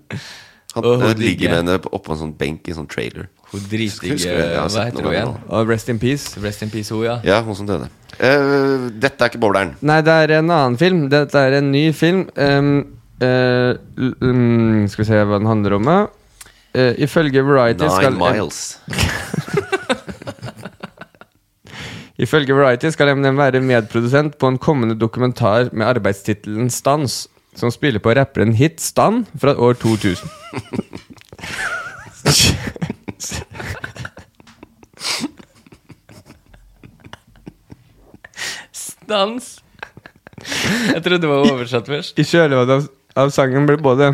[SPEAKER 3] Han
[SPEAKER 4] Åh,
[SPEAKER 3] eh,
[SPEAKER 4] digge.
[SPEAKER 3] ligger med henne på- oppå en sånn benk i en sånn trailer.
[SPEAKER 4] Hun
[SPEAKER 3] Husker du
[SPEAKER 4] dritdigge
[SPEAKER 3] det? Jeg har
[SPEAKER 4] eh, Hva
[SPEAKER 3] sett
[SPEAKER 4] heter
[SPEAKER 3] den noen
[SPEAKER 4] hun igjen?
[SPEAKER 3] ganger
[SPEAKER 2] Og Rest in Peace.
[SPEAKER 4] Rest in peace, hun, ja.
[SPEAKER 3] Ja, hun som døde. Eh, dette er ikke bobleren.
[SPEAKER 2] Nei, det er en annen film. Dette er en ny film. Um, eh, l- um, skal vi se hva den handler om, da. Eh, ifølge Variety skal
[SPEAKER 3] Nine Miles.
[SPEAKER 2] Ifølge Variety skal Eminem være medprodusent på en kommende dokumentar med arbeidstittelen Stans, som spiller på rapperen Hit Stan fra år 2000.
[SPEAKER 4] Dans. Jeg trodde det var oversatt først.
[SPEAKER 2] I kjølvannet av, av sangen ble både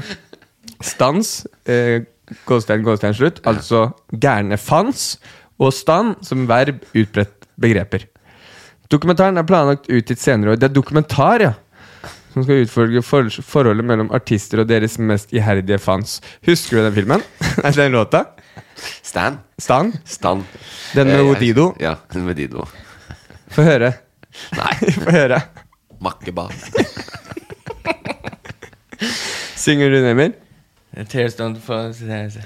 [SPEAKER 2] Stans, eh, gåstein, gåstein, slutt, altså gærne fans, og stan som verb utbredt begreper. Dokumentaren er planlagt utgitt senere i år. Det er dokumentar, ja! Som skal utfølge for forholdet mellom artister og deres mest iherdige fans. Husker du den filmen? Nei, den låta?
[SPEAKER 3] Stan.
[SPEAKER 2] Stan?
[SPEAKER 3] Stan.
[SPEAKER 2] Den med
[SPEAKER 3] Eh, jeg-
[SPEAKER 2] Odido?
[SPEAKER 3] Ja, den med Dido.
[SPEAKER 2] Få høre.
[SPEAKER 3] Nei,
[SPEAKER 2] Få høre.
[SPEAKER 3] makkeba.
[SPEAKER 2] Synger du, Nemir?
[SPEAKER 4] Tears don't fall jeg,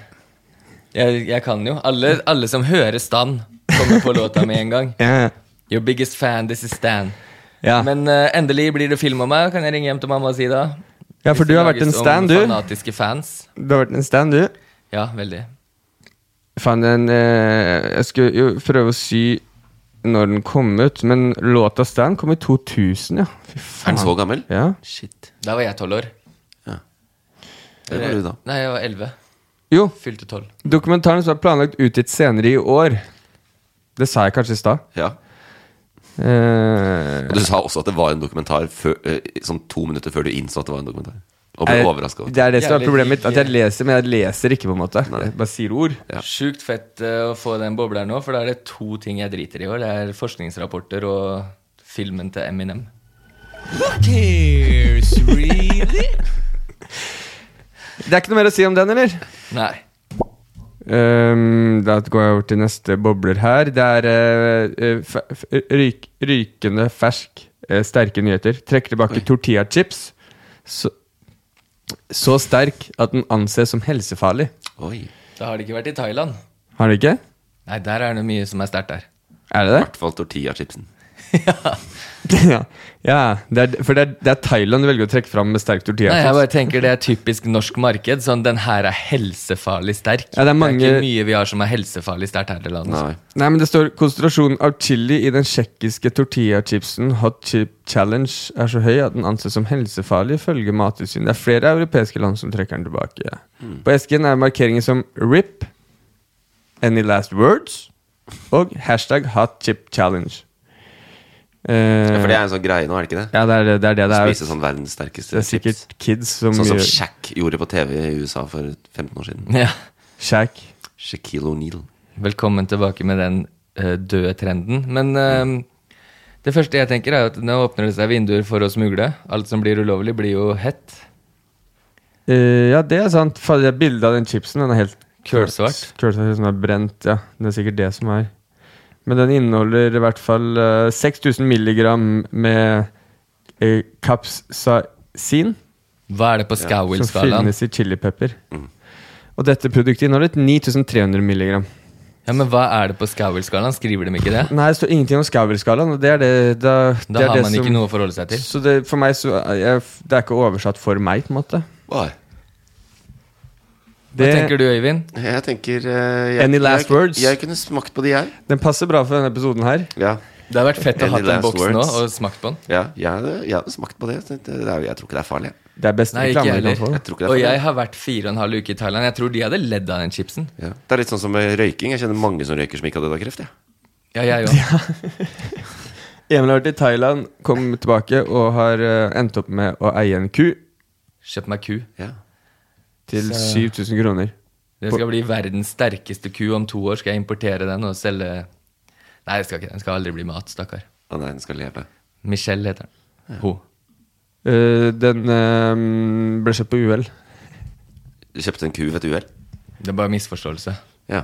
[SPEAKER 4] jeg kan jo. Alle, alle som hører Stan, kommer på låta med en gang.
[SPEAKER 2] Ja.
[SPEAKER 4] Your biggest fan, this is Stan.
[SPEAKER 2] Ja.
[SPEAKER 4] Men eh, endelig blir det film om meg. Kan jeg ringe hjem til mamma og si det?
[SPEAKER 2] ja, for
[SPEAKER 4] Hvis
[SPEAKER 2] du
[SPEAKER 4] det
[SPEAKER 2] har vært en
[SPEAKER 4] lages om
[SPEAKER 2] stand, du.
[SPEAKER 4] Fanatiske fans.
[SPEAKER 2] Du har vært en stand, du.
[SPEAKER 4] Ja, veldig.
[SPEAKER 2] Faen, den eh, Jeg skulle jo prøve å sy når den kom ut, men låta Stan kom i 2000, ja. Fy
[SPEAKER 3] Er
[SPEAKER 2] faen.
[SPEAKER 3] den så gammel?
[SPEAKER 2] Ja.
[SPEAKER 3] Shit.
[SPEAKER 4] Da var jeg tolv år.
[SPEAKER 3] Det var du, da.
[SPEAKER 4] Nei, jeg var elleve.
[SPEAKER 2] Jo,
[SPEAKER 4] Fylte tolv.
[SPEAKER 2] dokumentaren som er planlagt utgitt senere i år. Det sa jeg kanskje i stad.
[SPEAKER 3] Ja.
[SPEAKER 2] Eh,
[SPEAKER 3] Og du sa også at det var en dokumentar før, eh, sånn to minutter før du innså at det var en dokumentar. Og ble
[SPEAKER 2] jeg-
[SPEAKER 3] overraska over
[SPEAKER 2] Det er det som er
[SPEAKER 4] Jævlig
[SPEAKER 2] problemet mitt. At jeg
[SPEAKER 4] digg.
[SPEAKER 2] leser, men jeg leser ikke, på en måte. Jeg bare sier ord.
[SPEAKER 3] Ja.
[SPEAKER 4] Sjukt fett eh, å få den bobleren nå, for da er det to ting jeg driter i år. Det er forskningsrapporter og filmen til Eminem.
[SPEAKER 2] Det er ikke noe mer å si om den, eller?
[SPEAKER 4] Nei.
[SPEAKER 2] Ehm, da går jeg over til neste bobler her. Det er eh, eh, fe- f- ryk, rykende fersk, eh, sterke nyheter. Trekker tilbake tortillachips. Så, så sterk at den anses som helsefarlig.
[SPEAKER 3] Oi.
[SPEAKER 4] Da har det ikke vært i Thailand.
[SPEAKER 2] Har det ikke?
[SPEAKER 4] Nei, der er det mye som er sterkt der.
[SPEAKER 2] Er det
[SPEAKER 3] I
[SPEAKER 2] det?
[SPEAKER 3] hvert fall tortillachipsen.
[SPEAKER 2] ja, ja det er, for det er, det er Thailand du velger å trekke fram med sterk
[SPEAKER 4] Nei, jeg
[SPEAKER 2] tortillachips.
[SPEAKER 4] bare tenker det er typisk norsk marked. Sånn, den her er helsefarlig sterk.
[SPEAKER 2] Ja, det er mange-
[SPEAKER 4] det er ikke mye vi har som er helsefarlig sterkt her i landet.
[SPEAKER 3] Nei.
[SPEAKER 2] Nei, men det står konsentrasjonen av chili i den tsjekkiske tortillachipsen Hot Chip Challenge er så høy at den anses som helsefarlig, ifølge Mattilsynet. Det er flere europeiske land som trekker den tilbake.
[SPEAKER 3] Mm.
[SPEAKER 2] På esken er markeringer som RIP, Any Last Words og hashtag Hot Chip Challenge. Eh,
[SPEAKER 3] Ja, for det er en sånn greie nå, er det ikke det?
[SPEAKER 2] ja, det er det det er det. Det er,
[SPEAKER 3] Spise sånn verdens sterkeste
[SPEAKER 2] det er sikkert
[SPEAKER 3] chips.
[SPEAKER 2] kids som
[SPEAKER 3] Sånn som
[SPEAKER 2] gjør
[SPEAKER 3] Shaq gjorde på TV i USA for 15 år siden.
[SPEAKER 4] Ja.
[SPEAKER 2] Shack.
[SPEAKER 3] Shaquille O'Neal.
[SPEAKER 4] Velkommen tilbake med den eh, døde trenden. Men eh, det første jeg tenker, er at nå åpner det seg vinduer for å smugle. Alt som blir ulovlig, blir jo hett.
[SPEAKER 2] Eh, ja, det er sant. Fader, det bildet av den chipsen Den er helt
[SPEAKER 4] Kølsvart.
[SPEAKER 2] Kølsvart som er brent, ja. Det er sikkert det som er. Men den inneholder i hvert fall eh, 6000 milligram med eh, capsaicin,
[SPEAKER 4] Hva er det på
[SPEAKER 2] som
[SPEAKER 4] Scowell-skalaen?
[SPEAKER 2] finnes i chilipepper. Og dette produktet inneholder 9300 milligram.
[SPEAKER 4] Ja, Men hva er det på Skauvel-skalaen? Skriver de ikke det?
[SPEAKER 2] Nei, det står ingenting om Skauvel-skalaen. og Det er det, da, det
[SPEAKER 4] Da
[SPEAKER 2] er
[SPEAKER 4] har
[SPEAKER 2] det
[SPEAKER 4] man ikke noe å forholde seg til.
[SPEAKER 2] Så det, for meg så, er jeg, det er ikke oversatt for meg, på en måte.
[SPEAKER 3] Nei.
[SPEAKER 4] Hva tenker du, Øyvind?
[SPEAKER 3] Jeg tenker eh, jeg,
[SPEAKER 2] Any last
[SPEAKER 3] jeg,
[SPEAKER 2] words?
[SPEAKER 3] Jeg kunne smakt på de, jeg.
[SPEAKER 2] Den passer bra for denne episoden her.
[SPEAKER 4] Det har vært fett å
[SPEAKER 3] Any
[SPEAKER 4] ha den
[SPEAKER 3] last
[SPEAKER 4] boksen nå
[SPEAKER 3] words?
[SPEAKER 4] og smakt på den.
[SPEAKER 3] Ja, jeg hadde, jeg hadde smakt på det. Jeg, tenkte, det er, jeg tror ikke det er farlig. jeg.
[SPEAKER 2] Det er best
[SPEAKER 4] Nei, ikke
[SPEAKER 2] reklame
[SPEAKER 4] jeg
[SPEAKER 2] du kan få.
[SPEAKER 4] heller.
[SPEAKER 3] Jeg tror ikke det er
[SPEAKER 4] Og
[SPEAKER 3] farlig.
[SPEAKER 4] jeg har vært fire og en halv uke i Thailand. Jeg tror de hadde ledd av den chipsen.
[SPEAKER 3] Ja. Det er litt sånn som med røyking. Jeg kjenner mange som røyker som ikke har dødd av kreft. jeg.
[SPEAKER 4] Ja, jeg òg.
[SPEAKER 2] Emil har vært i Thailand, kom tilbake og har eh, endt opp med å eie en ku
[SPEAKER 4] Kjøpt meg ku.
[SPEAKER 3] Ja.
[SPEAKER 2] til
[SPEAKER 4] Så-
[SPEAKER 2] 7000 kroner.
[SPEAKER 4] Det skal bli verdens sterkeste ku om to år. Skal jeg importere den og selge Nei, jeg skal ikke det. Den skal aldri bli mat, stakkar.
[SPEAKER 3] Å nei, den skal leve.
[SPEAKER 4] Michelle heter den. Hun.
[SPEAKER 2] Eh, den eh, ble kjøpt på uhell.
[SPEAKER 3] Du Kjøpte en ku ved et uhell.
[SPEAKER 4] Det er bare misforståelse.
[SPEAKER 3] Ja.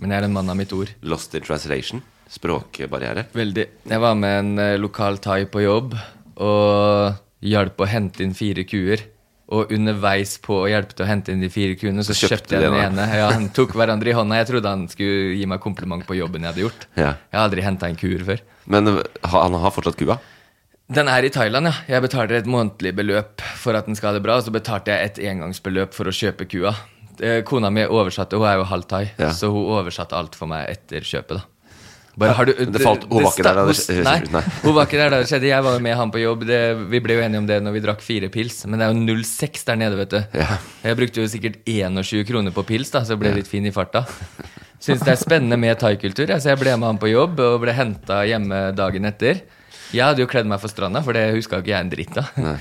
[SPEAKER 4] Men jeg er en mann av mitt ord.
[SPEAKER 3] Lost in translation. Språkbarriere.
[SPEAKER 4] Veldig. Jeg var med en eh, lokal thai på jobb og hjalp å hente inn fire kuer. Og underveis på å hjelpe til å hente inn de fire kuene, så,
[SPEAKER 3] Så kjøpte
[SPEAKER 4] kjøpte jeg
[SPEAKER 3] de
[SPEAKER 4] den
[SPEAKER 3] den, da.
[SPEAKER 4] ene. Ja, han tok hverandre i hånda. Jeg trodde han skulle gi meg kompliment på jobben jeg hadde gjort.
[SPEAKER 3] Ja.
[SPEAKER 4] Jeg har aldri henta en kuer før.
[SPEAKER 3] Men øh, ha- han har fortsatt kua?
[SPEAKER 4] Den er i Thailand, ja. Jeg betaler et månedlig beløp for at den skal ha det bra, og så betalte jeg et engangsbeløp for å kjøpe kua. Eh, Kona mi oversatte, hun er jo halvt thai,
[SPEAKER 3] Ja.
[SPEAKER 4] så hun oversatte alt for meg etter kjøpet, da. Bare, har du,
[SPEAKER 3] Men det falt- hun var ikke
[SPEAKER 4] sta-
[SPEAKER 3] der da det
[SPEAKER 4] hun-
[SPEAKER 3] skj-
[SPEAKER 4] Nei,
[SPEAKER 3] nei.
[SPEAKER 4] hun var ikke der da det skjedde. Jeg var jo med han på jobb. Det, vi ble jo enige om det når vi drakk fire pils, men det er jo 06 der nede, vet du.
[SPEAKER 3] Ja.
[SPEAKER 4] Jeg brukte jo sikkert 21 kroner på pils, da, så jeg ble litt fin i farta. Syns det er spennende med thaikultur, ja, så jeg ble med han på jobb og ble henta hjemme dagen etter. Jeg hadde jo kledd meg for stranda, for det huska ikke jeg en dritt av.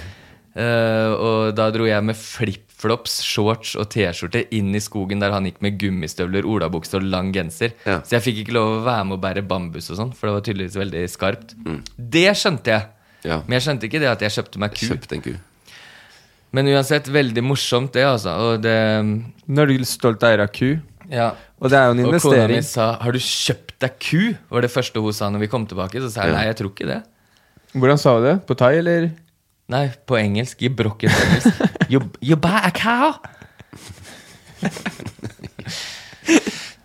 [SPEAKER 4] Eh, og da dro jeg med flipflops, shorts og T-skjorte inn i skogen der han gikk med gummistøvler, olabukse og lang genser.
[SPEAKER 3] Ja.
[SPEAKER 4] Så jeg fikk ikke lov å være med å bære bambus og sånn, for det var tydeligvis veldig skarpt. Det skjønte jeg.
[SPEAKER 3] Mm. Ja.
[SPEAKER 4] Men jeg skjønte ikke det at jeg kjøpte meg ku.
[SPEAKER 3] Kjøpte en ku.
[SPEAKER 4] Men uansett, veldig morsomt det, altså. Og det
[SPEAKER 2] Nå er du stolt eier av ku,
[SPEAKER 4] Ja.
[SPEAKER 2] og det er jo en
[SPEAKER 4] Og kona mi
[SPEAKER 2] investering.
[SPEAKER 4] sa 'Har du kjøpt deg ku?' var det første hun sa når vi kom tilbake. Så sa jeg
[SPEAKER 3] Ja.
[SPEAKER 4] nei, jeg tror ikke det.
[SPEAKER 2] Hvordan sa du det? På thai, eller?
[SPEAKER 4] Nei, på engelsk. I brokket engelsk. you, you buy a cow?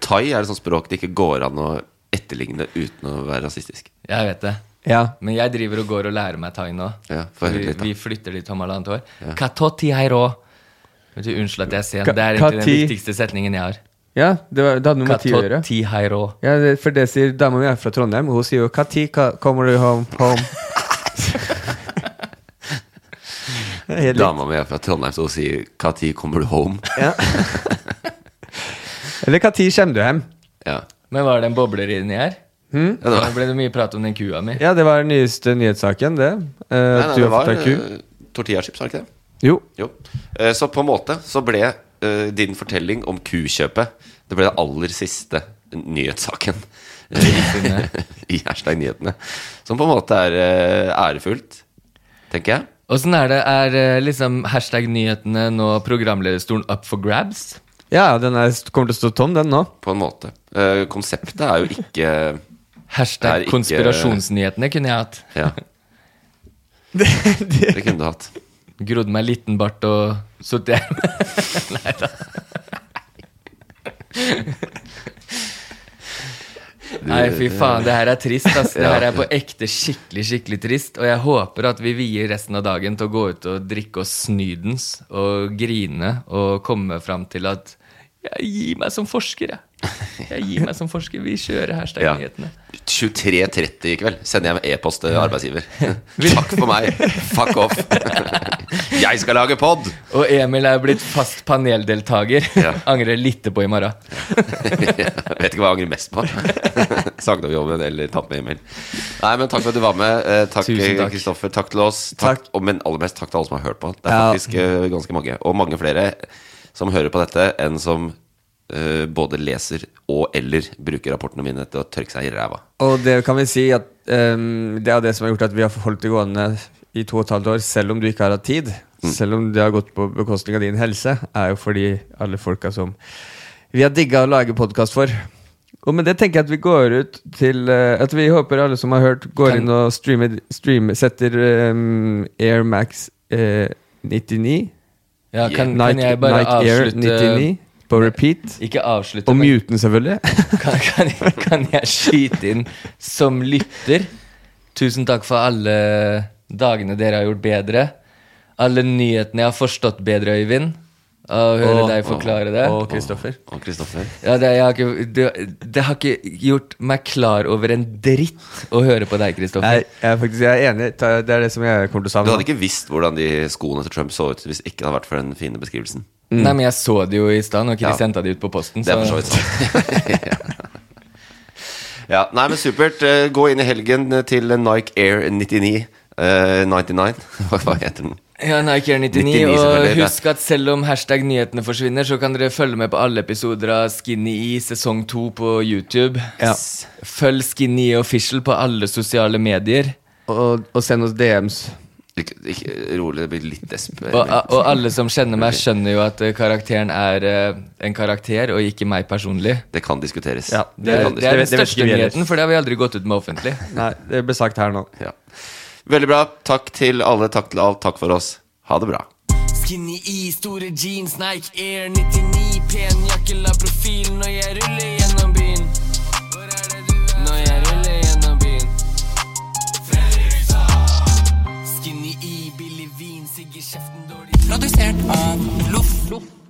[SPEAKER 3] Thai er et sånt språk det ikke går an å etterligne uten å være rasistisk.
[SPEAKER 4] Jeg vet det.
[SPEAKER 2] Ja.
[SPEAKER 4] Men jeg driver og går og lærer meg thai nå.
[SPEAKER 3] Ja, få høre
[SPEAKER 4] vi,
[SPEAKER 3] litt, da.
[SPEAKER 4] vi flytter dit om halvannet år.
[SPEAKER 3] Ja.
[SPEAKER 4] Katoti heiro. Vet du, Unnskyld at jeg er sen.
[SPEAKER 2] Ka-
[SPEAKER 4] Det er egentlig den
[SPEAKER 2] kati-
[SPEAKER 4] viktigste setningen jeg har.
[SPEAKER 2] Ja, det, var, det hadde noe med ti å gjøre.
[SPEAKER 4] Katoti heiro.
[SPEAKER 2] Ja, det, for det sier dama mi er fra Trondheim, og hun sier jo 'Kati ka, kommer du home?' home? Det er helt likt.
[SPEAKER 3] Dama mi er fra Trondheim, så hun sier 'Kati, kommer du home?'
[SPEAKER 2] Ja. Eller 'Kati kommer du hjem?'
[SPEAKER 3] Ja.
[SPEAKER 4] Men var det en bobler inni her?
[SPEAKER 3] Ja, det var-
[SPEAKER 4] Nå ble det mye prat om den kua mi.
[SPEAKER 2] Ja, det var den nyeste nyhetssaken, det. Eh,
[SPEAKER 3] Nei,
[SPEAKER 2] at
[SPEAKER 3] nei,
[SPEAKER 2] du
[SPEAKER 3] det
[SPEAKER 2] har fått
[SPEAKER 3] var
[SPEAKER 2] deg ku.
[SPEAKER 3] eh, tortillachips, var det ikke det?
[SPEAKER 2] Jo.
[SPEAKER 3] Jo. Eh, Så på en måte så ble eh, din fortelling om kukjøpet Det ble det aller siste nyhetssaken eh, i hashtag nyhetene. Som på en måte er eh, ærefullt, tenker jeg.
[SPEAKER 4] Åssen er det? Er eh, liksom hashtag nyhetene nå programlederstolen up for grabs?
[SPEAKER 2] Ja, den er, kommer til å stå tom, den nå.
[SPEAKER 3] På en måte. Eh, Konseptet er jo ikke eh,
[SPEAKER 4] Hashtag
[SPEAKER 3] Det er ikke-
[SPEAKER 4] konspirasjonsnyhetene kunne jeg hatt.
[SPEAKER 3] Ja, det kunne du hatt.
[SPEAKER 4] Grodd meg liten bart og sittet hjemme. Nei, fy faen, det her er trist. Ass. Det
[SPEAKER 3] Ja.
[SPEAKER 4] her er på ekte skikkelig skikkelig trist. Og jeg håper at vi vier resten av dagen til å gå ut og drikke oss snydens og grine og komme fram til at jeg gir meg som forsker, jeg. Jeg gir meg som forsker. Vi kjører
[SPEAKER 3] Ja.
[SPEAKER 4] hashtag-nyhetene.
[SPEAKER 3] 23.30 i kveld sender jeg en e-post til arbeidsgiver. Takk for meg. Fuck off. Jeg skal lage pod!
[SPEAKER 4] Og Emil er blitt fast paneldeltaker.
[SPEAKER 3] Ja.
[SPEAKER 4] Angrer lite på i morgen.
[SPEAKER 3] Jeg vet ikke hva jeg angrer mest på. Sagnomjobben eller tante med Emil. Nei, men takk for at du var med. Eh, Takk
[SPEAKER 4] Tusen takk.
[SPEAKER 3] Kristoffer. Takk til oss. Takk, og- Men aller mest takk til alle som har hørt på. Det er
[SPEAKER 2] Ja.
[SPEAKER 3] faktisk eh, ganske mange. Og mange flere som hører på dette, enn som eh, både leser og eller bruker rapportene mine til å tørke seg i ræva.
[SPEAKER 2] Og det kan vi si at ehm, det er det som har gjort at vi har holdt det gående i to og et halvt år, selv om du ikke har hatt tid.
[SPEAKER 3] Mm.
[SPEAKER 2] Selv om det har gått på bekostning av din helse, er jo fordi alle folka som vi har digga å lage podkast for. Og med det tenker jeg at vi går ut til eh, At vi håper alle som har hørt, går
[SPEAKER 4] Kan-
[SPEAKER 2] inn og streamer, streamer setter um, Air Max eh, 99
[SPEAKER 4] Ja, kan,
[SPEAKER 2] Nike,
[SPEAKER 4] kan jeg bare
[SPEAKER 2] Nike Air
[SPEAKER 4] avslutte
[SPEAKER 2] 99 på repeat.
[SPEAKER 4] Ikke avslutte.
[SPEAKER 2] Og
[SPEAKER 4] men-
[SPEAKER 2] mute den, selvfølgelig.
[SPEAKER 4] Kan, kan, jeg- kan jeg skyte inn som lytter? Tusen takk for alle dagene dere har gjort bedre. Alle nyhetene jeg har forstått bedre, Øyvind. Av Å høre
[SPEAKER 2] Og-
[SPEAKER 4] deg forklare det.
[SPEAKER 2] og Kristoffer.
[SPEAKER 3] Og Kristoffer.
[SPEAKER 4] Ja, det, jeg har ikke, det, det har ikke gjort meg klar over en dritt å høre på deg, Kristoffer.
[SPEAKER 2] Jeg, jeg, er faktisk, jeg er enig. Ta- Det er det som jeg kommer til å
[SPEAKER 3] Du
[SPEAKER 2] savne.
[SPEAKER 3] hadde ikke visst hvordan de skoene til Trump så ut hvis ikke det hadde vært for den fine beskrivelsen.
[SPEAKER 4] Nei, men jeg så det jo i stad, og Chris
[SPEAKER 3] mm. Ja.
[SPEAKER 4] sendte det ut på posten.
[SPEAKER 3] Det er for så vidt sant. ja, nei, men supert. Eh, Gå inn i helgen til Nike Air 99. eh, 99. Hva hva heter den?
[SPEAKER 4] Ja, Nike Air 99,
[SPEAKER 3] 99, selvfølgelig,
[SPEAKER 4] og
[SPEAKER 3] det.
[SPEAKER 4] husk at selv om hashtag nyhetene forsvinner, så kan dere følge med på alle episoder av Skinny E sesong 2 på YouTube.
[SPEAKER 2] Ja.
[SPEAKER 4] S- Følg Skinny E Official på alle sosiale medier.
[SPEAKER 2] Og, og send oss DMs.
[SPEAKER 3] Ikke, ikke, rolig, det blir litt desp.
[SPEAKER 4] Og, og alle som kjenner meg, skjønner jo at eh, karakteren er eh, en karakter, og ikke meg personlig.
[SPEAKER 3] Det kan diskuteres.
[SPEAKER 2] Ja,
[SPEAKER 4] Det er,
[SPEAKER 3] kan
[SPEAKER 4] det er den
[SPEAKER 2] det vet ikke
[SPEAKER 4] største
[SPEAKER 2] vi ellers.
[SPEAKER 4] nyheten, for det har vi aldri gått ut med offentlig.
[SPEAKER 2] Nei, det ble sagt her nå.
[SPEAKER 3] Ja. Veldig bra. Takk til alle. Takk til alt. Takk for oss. Ha det bra.
[SPEAKER 7] Skinny i, store jeans, Nike Air 99 Pen jakke, la profilen når jeg ruller gjennom byen Når jeg ruller gjennom byen E, Skinny i, billig vin, sigg i kjeften, dårlig Produsert av Loff